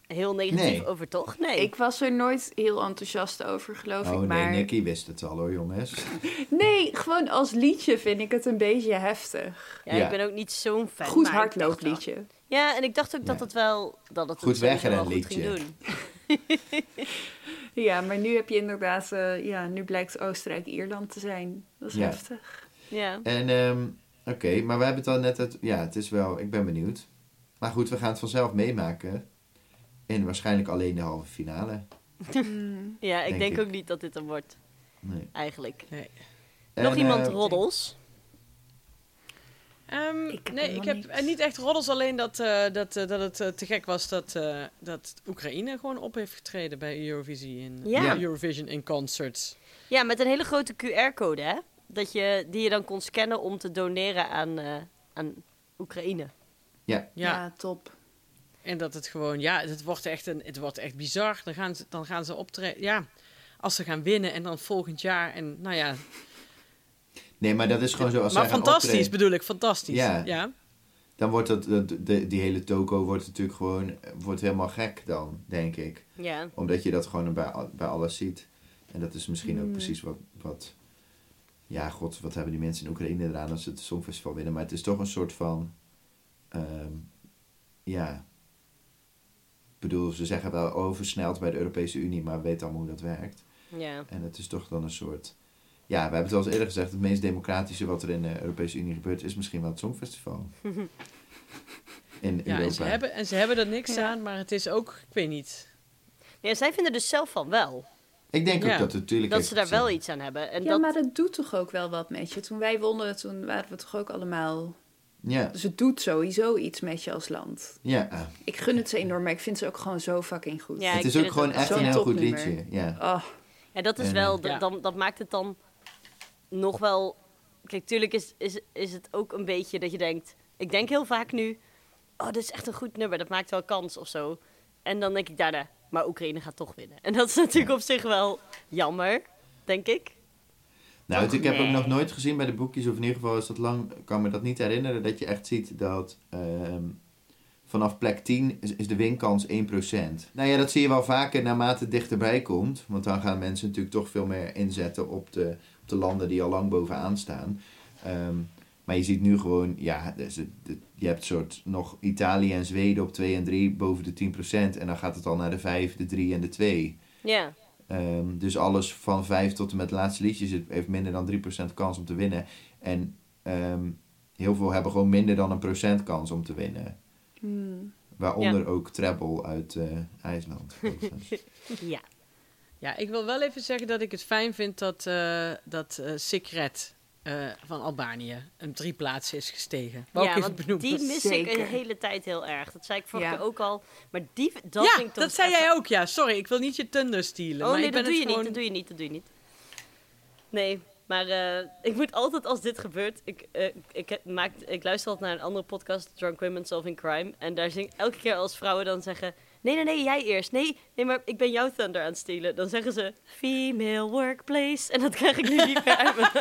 [SPEAKER 4] heel negatief
[SPEAKER 1] Nee.
[SPEAKER 4] over, toch? Nee.
[SPEAKER 2] Ik was er nooit heel enthousiast over, geloof
[SPEAKER 1] oh
[SPEAKER 2] ik.
[SPEAKER 1] nee,
[SPEAKER 2] Maar...
[SPEAKER 1] Nicky wist het al hoor, jongens.
[SPEAKER 2] Nee, gewoon als liedje vind ik het een beetje heftig.
[SPEAKER 4] ja,
[SPEAKER 1] ja.
[SPEAKER 4] ik ben ook niet zo'n fan.
[SPEAKER 2] Goed
[SPEAKER 4] maar ik dacht
[SPEAKER 2] hardloopliedje.
[SPEAKER 4] wel- Ja, en ik dacht ook dat
[SPEAKER 1] Ja.
[SPEAKER 4] het wel dat het
[SPEAKER 1] Goed
[SPEAKER 4] het sowieso wel
[SPEAKER 1] weggerend
[SPEAKER 4] goed ging
[SPEAKER 1] liedje.
[SPEAKER 4] doen.
[SPEAKER 2] Ja, maar nu heb je inderdaad... eh, ja, nu blijkt Oostenrijk-Ierland te zijn. Dat is
[SPEAKER 1] Ja.
[SPEAKER 2] heftig.
[SPEAKER 4] Ja.
[SPEAKER 1] En, ehm, oké, maar we hebben het al net... Het, ja, het is wel... Ik ben benieuwd. Maar goed, we gaan het vanzelf meemaken. En waarschijnlijk alleen de halve finale.
[SPEAKER 4] ja, ik
[SPEAKER 1] Denk
[SPEAKER 4] denk,
[SPEAKER 1] ik.
[SPEAKER 4] ook niet dat dit hem wordt,
[SPEAKER 1] Nee.
[SPEAKER 4] eigenlijk.
[SPEAKER 1] En,
[SPEAKER 4] Nog iemand
[SPEAKER 1] eh,
[SPEAKER 4] roddels?
[SPEAKER 3] Ehm,
[SPEAKER 2] Ik heb
[SPEAKER 3] nee, ik
[SPEAKER 2] helemaal
[SPEAKER 3] heb
[SPEAKER 2] niks.
[SPEAKER 3] eh, niet echt roddels, alleen dat, eh, dat, eh, dat het eh, te gek was dat, eh, dat Oekraïne gewoon op heeft getreden bij Eurovisie in, eh,
[SPEAKER 4] Ja.
[SPEAKER 1] Ja.
[SPEAKER 3] Eurovision in concerts.
[SPEAKER 4] Ja, met een hele grote QR-code, hè? Dat je, die je dan kon scannen om te doneren aan, eh, aan Oekraïne.
[SPEAKER 1] Ja,
[SPEAKER 3] Ja.
[SPEAKER 2] top.
[SPEAKER 3] En dat het gewoon, ja, het wordt echt, een, het wordt echt bizar. Dan gaan ze, dan gaan ze optreden, ja, als ze gaan winnen en dan volgend jaar. En nou ja,
[SPEAKER 1] nee, maar dat is gewoon zo. Als
[SPEAKER 3] maar
[SPEAKER 1] zij gaan
[SPEAKER 3] fantastisch
[SPEAKER 1] optreden-
[SPEAKER 3] bedoel ik, fantastisch.
[SPEAKER 1] Ja.
[SPEAKER 3] ja.
[SPEAKER 1] Dan wordt dat, dat- de, die hele toko wordt natuurlijk gewoon wordt helemaal gek dan, denk ik.
[SPEAKER 4] Ja.
[SPEAKER 1] Omdat je dat gewoon bij, al- bij alles ziet. En dat is misschien ook precies wat, wat... Ja, god, wat hebben die mensen in Oekraïne eraan als ze het Songfestival winnen. Maar het is toch een soort van... ehm, ja... Ik bedoel, ze zeggen wel oversneld bij de Europese Unie, maar we weten allemaal hoe dat werkt.
[SPEAKER 4] Ja.
[SPEAKER 1] En het is toch dan een soort... Ja, we hebben het al eens eerder gezegd. Het meest democratische wat er in de Europese Unie gebeurt... is misschien wel het Songfestival. In
[SPEAKER 3] Ja, en ze,
[SPEAKER 1] Europa.
[SPEAKER 3] hebben, en ze hebben er niks aan, maar het is ook, ik weet niet.
[SPEAKER 4] ja, zij vinden dus zelf van wel.
[SPEAKER 1] Ik denk
[SPEAKER 3] Ja,
[SPEAKER 1] ook dat het natuurlijk...
[SPEAKER 4] Dat
[SPEAKER 1] heeft
[SPEAKER 4] ze daar wel
[SPEAKER 1] zin.
[SPEAKER 4] iets aan hebben. En
[SPEAKER 2] Ja,
[SPEAKER 4] dat,
[SPEAKER 2] maar dat doet toch ook wel wat met je. Toen wij wonnen, toen waren we toch ook allemaal...
[SPEAKER 1] Ja,
[SPEAKER 2] Dus het doet sowieso iets met je als land.
[SPEAKER 1] ja.
[SPEAKER 2] Ik gun het ze enorm, maar ik vind ze ook gewoon zo fucking goed.
[SPEAKER 4] Ja,
[SPEAKER 1] het
[SPEAKER 4] ik
[SPEAKER 1] is
[SPEAKER 4] vind
[SPEAKER 1] ook
[SPEAKER 4] het
[SPEAKER 1] gewoon
[SPEAKER 4] ook
[SPEAKER 1] echt
[SPEAKER 2] zo'n
[SPEAKER 1] een heel goed
[SPEAKER 2] topnummer.
[SPEAKER 1] liedje. Ja.
[SPEAKER 2] Oh,
[SPEAKER 4] ja, dat is
[SPEAKER 1] En,
[SPEAKER 4] wel, dat,
[SPEAKER 3] ja.
[SPEAKER 4] dan, dat maakt het dan nog wel kijk, tuurlijk is, is, is het ook een beetje dat je denkt... Ik denk heel vaak nu, oh, dit is echt een goed nummer. Dat maakt wel kans of zo. En dan denk ik daarna, maar Oekraïne gaat toch winnen. En dat is natuurlijk op zich wel jammer, denk ik.
[SPEAKER 1] Nou, het- ik heb ook nog nooit gezien bij de boekjes, of in ieder geval is dat lang, ik kan me dat niet herinneren, dat je echt ziet dat ehm, vanaf plek 10 is, is de winkans 1%. Nou ja, dat zie je wel vaker naarmate het dichterbij komt, want dan gaan mensen natuurlijk toch veel meer inzetten op de, op de landen die al lang bovenaan staan. Ehm, maar je ziet nu gewoon, ja, dus het- het- je hebt soort nog Italië en Zweden op 2 en 3 boven de 10% en dan gaat het al naar de 5, de 3 en de 2.
[SPEAKER 4] Ja,
[SPEAKER 1] Ehm, dus alles van 5 tot en met het laatste liedje zit- heeft minder dan 3% kans om te winnen. En ehm, heel veel hebben gewoon minder dan een procent kans om te winnen.
[SPEAKER 3] Hmm.
[SPEAKER 1] Waaronder ook Treble uit eh, IJsland.
[SPEAKER 4] ja.
[SPEAKER 3] Ja, ik wil wel even zeggen dat ik het fijn vind dat, eh dat eh, Secret eh, van Albanië een drie plaatsen is gestegen. Wou
[SPEAKER 4] ja,
[SPEAKER 3] ik even
[SPEAKER 4] want
[SPEAKER 3] benoemen.
[SPEAKER 4] die mis ik
[SPEAKER 2] Zeker.
[SPEAKER 4] de hele tijd heel erg. Dat zei ik vorige
[SPEAKER 2] Ja.
[SPEAKER 4] keer ook al. Maar die, dat
[SPEAKER 3] ja,
[SPEAKER 4] vind ik toch
[SPEAKER 3] dat zei
[SPEAKER 4] echt-
[SPEAKER 3] jij ook, ja. Sorry, ik wil niet je thunder stelen.
[SPEAKER 4] Oh
[SPEAKER 3] maar
[SPEAKER 4] nee,
[SPEAKER 3] ik ben
[SPEAKER 4] dat doe je
[SPEAKER 3] het gewoon...
[SPEAKER 4] niet, dat doe je niet, dat doe je niet. Nee, maar eh, ik moet altijd als dit gebeurt... Ik, eh, ik, heb- maak, ik luister altijd naar een andere podcast, Drunk Women Solving Crime. En daar zing elke keer als vrouwen dan zeggen... Nee, nee, nee, jij eerst. Nee, nee, maar ik ben jouw thunder aan het stelen. Dan zeggen ze, female workplace. En dat krijg ik nu niet meer uit me.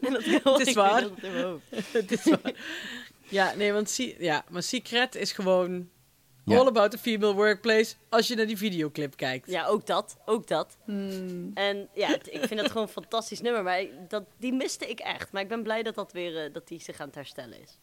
[SPEAKER 4] en dat
[SPEAKER 3] Het is waar.
[SPEAKER 4] Dat in mijn hoofd.
[SPEAKER 3] Het is waar. ja, nee, want Si- ja, maar Secret is gewoon
[SPEAKER 1] Ja.
[SPEAKER 3] all about the female workplace als je naar die videoclip kijkt.
[SPEAKER 4] Ja, ook dat. Ook dat.
[SPEAKER 2] hmm.
[SPEAKER 4] En ja, het- ik vind dat gewoon een fantastisch nummer. Maar ik- dat, die miste ik echt. Maar ik ben blij dat, dat, weer, eh, dat die zich aan het herstellen is.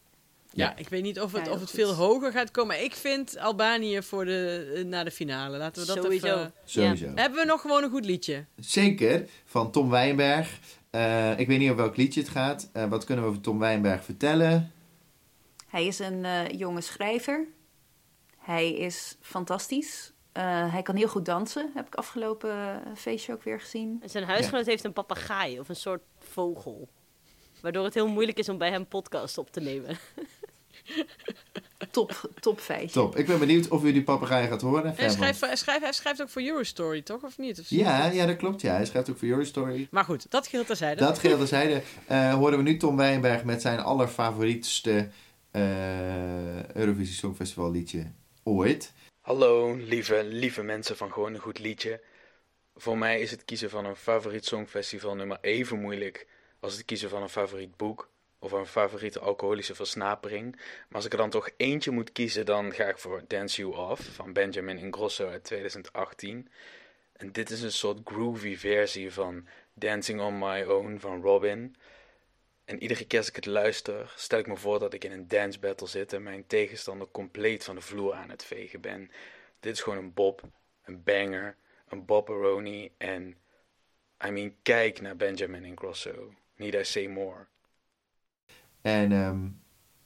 [SPEAKER 3] Ja, ik weet niet of het,
[SPEAKER 2] Ja, heel
[SPEAKER 3] of het
[SPEAKER 2] goed.
[SPEAKER 3] veel hoger gaat komen. Maar Ik vind Albanië voor de, eh, naar de finale. Laten we dat
[SPEAKER 4] Sowieso.
[SPEAKER 3] even...
[SPEAKER 1] Sowieso.
[SPEAKER 3] Hebben we nog gewoon een goed liedje?
[SPEAKER 1] Zeker, van Tom Wijnberg. Eh, ik weet niet over welk liedje het gaat. Eh, wat kunnen we over Tom Wijnberg vertellen?
[SPEAKER 2] Hij is een eh, jonge schrijver. Hij is fantastisch. Eh, hij kan heel goed dansen, heb ik afgelopen eh, feestje ook weer gezien.
[SPEAKER 4] En zijn huisgenoot heeft een papegaai of een soort vogel. Waardoor het heel moeilijk is om bij hem podcast op te nemen.
[SPEAKER 2] Top, top feestje.
[SPEAKER 1] Top. Ik ben benieuwd of u die papegaai gaat horen.
[SPEAKER 3] Hij
[SPEAKER 1] Fan van-
[SPEAKER 3] schrijft, hij, schrijft, eh, hij schrijft ook voor Eurostory, toch? Of niet? Of zie-
[SPEAKER 1] Ja, ja, dat klopt. Ja. Hij schrijft ook voor Your Story.
[SPEAKER 3] Maar goed, dat geldt terzijde.
[SPEAKER 1] Dat geheel terzijde. eh horen we nu Tom Wijnberg met zijn allerfavorietste eh Eurovisie Songfestival liedje ooit.
[SPEAKER 9] Hallo, lieve, lieve mensen van Gewoon een Goed Liedje. Voor mij is het kiezen van een favoriet songfestival nummer even moeilijk als het kiezen van een favoriet boek of een favoriete alcoholische versnapering. Maar als ik er dan toch eentje moet kiezen, dan ga ik voor Dance You Off van Benjamin Ingrosso uit 2018. En dit is een soort groovy versie van Dancing on My Own van Robin. En iedere keer als ik het luister, stel ik me voor dat ik in een dance battle zit en mijn tegenstander compleet van de vloer aan het vegen ben. Dit is gewoon een bob, een banger, een bopperoni en... I mean, kijk naar Benjamin Ingrosso. Need I say more?
[SPEAKER 1] En ehm,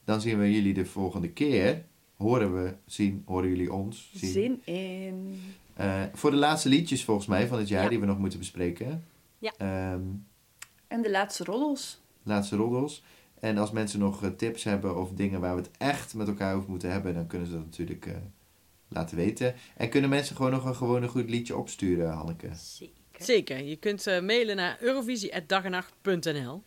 [SPEAKER 1] dan zien we jullie de volgende keer. Horen we, zien, horen jullie ons. Zien.
[SPEAKER 2] Zin in.
[SPEAKER 1] Eh, voor de laatste liedjes volgens mij van het jaar
[SPEAKER 4] Ja.
[SPEAKER 1] die we nog moeten bespreken.
[SPEAKER 4] Ja.
[SPEAKER 1] Ehm,
[SPEAKER 2] En de laatste roddels.
[SPEAKER 1] laatste roddels. En als mensen nog eh, tips hebben of dingen waar we het echt met elkaar over moeten hebben, dan kunnen ze dat natuurlijk eh, laten weten. En kunnen mensen gewoon nog een gewoon een goed liedje opsturen, Hanneke?
[SPEAKER 4] Zeker.
[SPEAKER 3] Zeker. Je kunt eh, mailen naar eurovisie.dagenacht.nl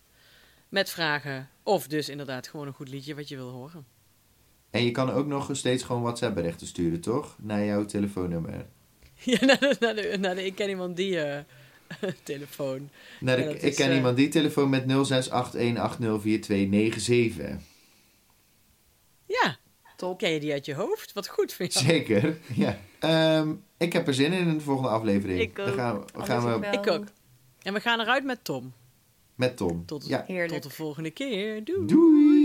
[SPEAKER 3] met vragen of dus inderdaad gewoon een goed liedje wat je wil horen.
[SPEAKER 1] En je kan ook nog steeds gewoon WhatsApp berichten sturen, toch? Naar jouw telefoonnummer.
[SPEAKER 3] Ja, naar de, naar de, naar de ik ken iemand die eh, telefoon.
[SPEAKER 1] Naar de-
[SPEAKER 3] Ja, dat
[SPEAKER 1] ik
[SPEAKER 3] is,
[SPEAKER 1] ken
[SPEAKER 3] eh,
[SPEAKER 1] iemand die telefoon met 0681804297.
[SPEAKER 3] Ja,
[SPEAKER 2] Top.
[SPEAKER 3] ken je die uit je hoofd? Wat goed vind je.
[SPEAKER 1] Zeker, ja. Ehm, ik heb er zin in in de volgende aflevering.
[SPEAKER 4] Ik ook.
[SPEAKER 1] Dan gaan we,
[SPEAKER 2] Alles
[SPEAKER 1] gaan
[SPEAKER 2] ook
[SPEAKER 1] we
[SPEAKER 2] wel.
[SPEAKER 3] Ik ook. En we gaan eruit met Tom.
[SPEAKER 1] met Tom.
[SPEAKER 3] Tot-
[SPEAKER 1] ja.
[SPEAKER 2] Heerlijk.
[SPEAKER 3] Tot de volgende keer. Doei.
[SPEAKER 1] Doei!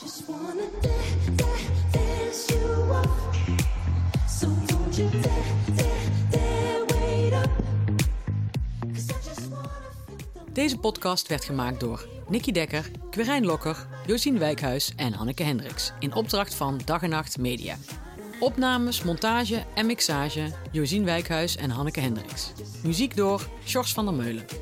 [SPEAKER 7] Just wanna da- da- dance you off. So don't you dare, dare, dare wait up. 'Cause I just wanna feel the
[SPEAKER 5] Deze podcast werd gemaakt door Nicky Dekker, Quirijn Lokker, Josien Wijkhuis en Hanneke Hendricks. In opdracht van Dag en Nacht Media. Opnames, montage en mixage Josien Wijkhuis en Hanneke Hendricks. Muziek door Sjors van der Meulen.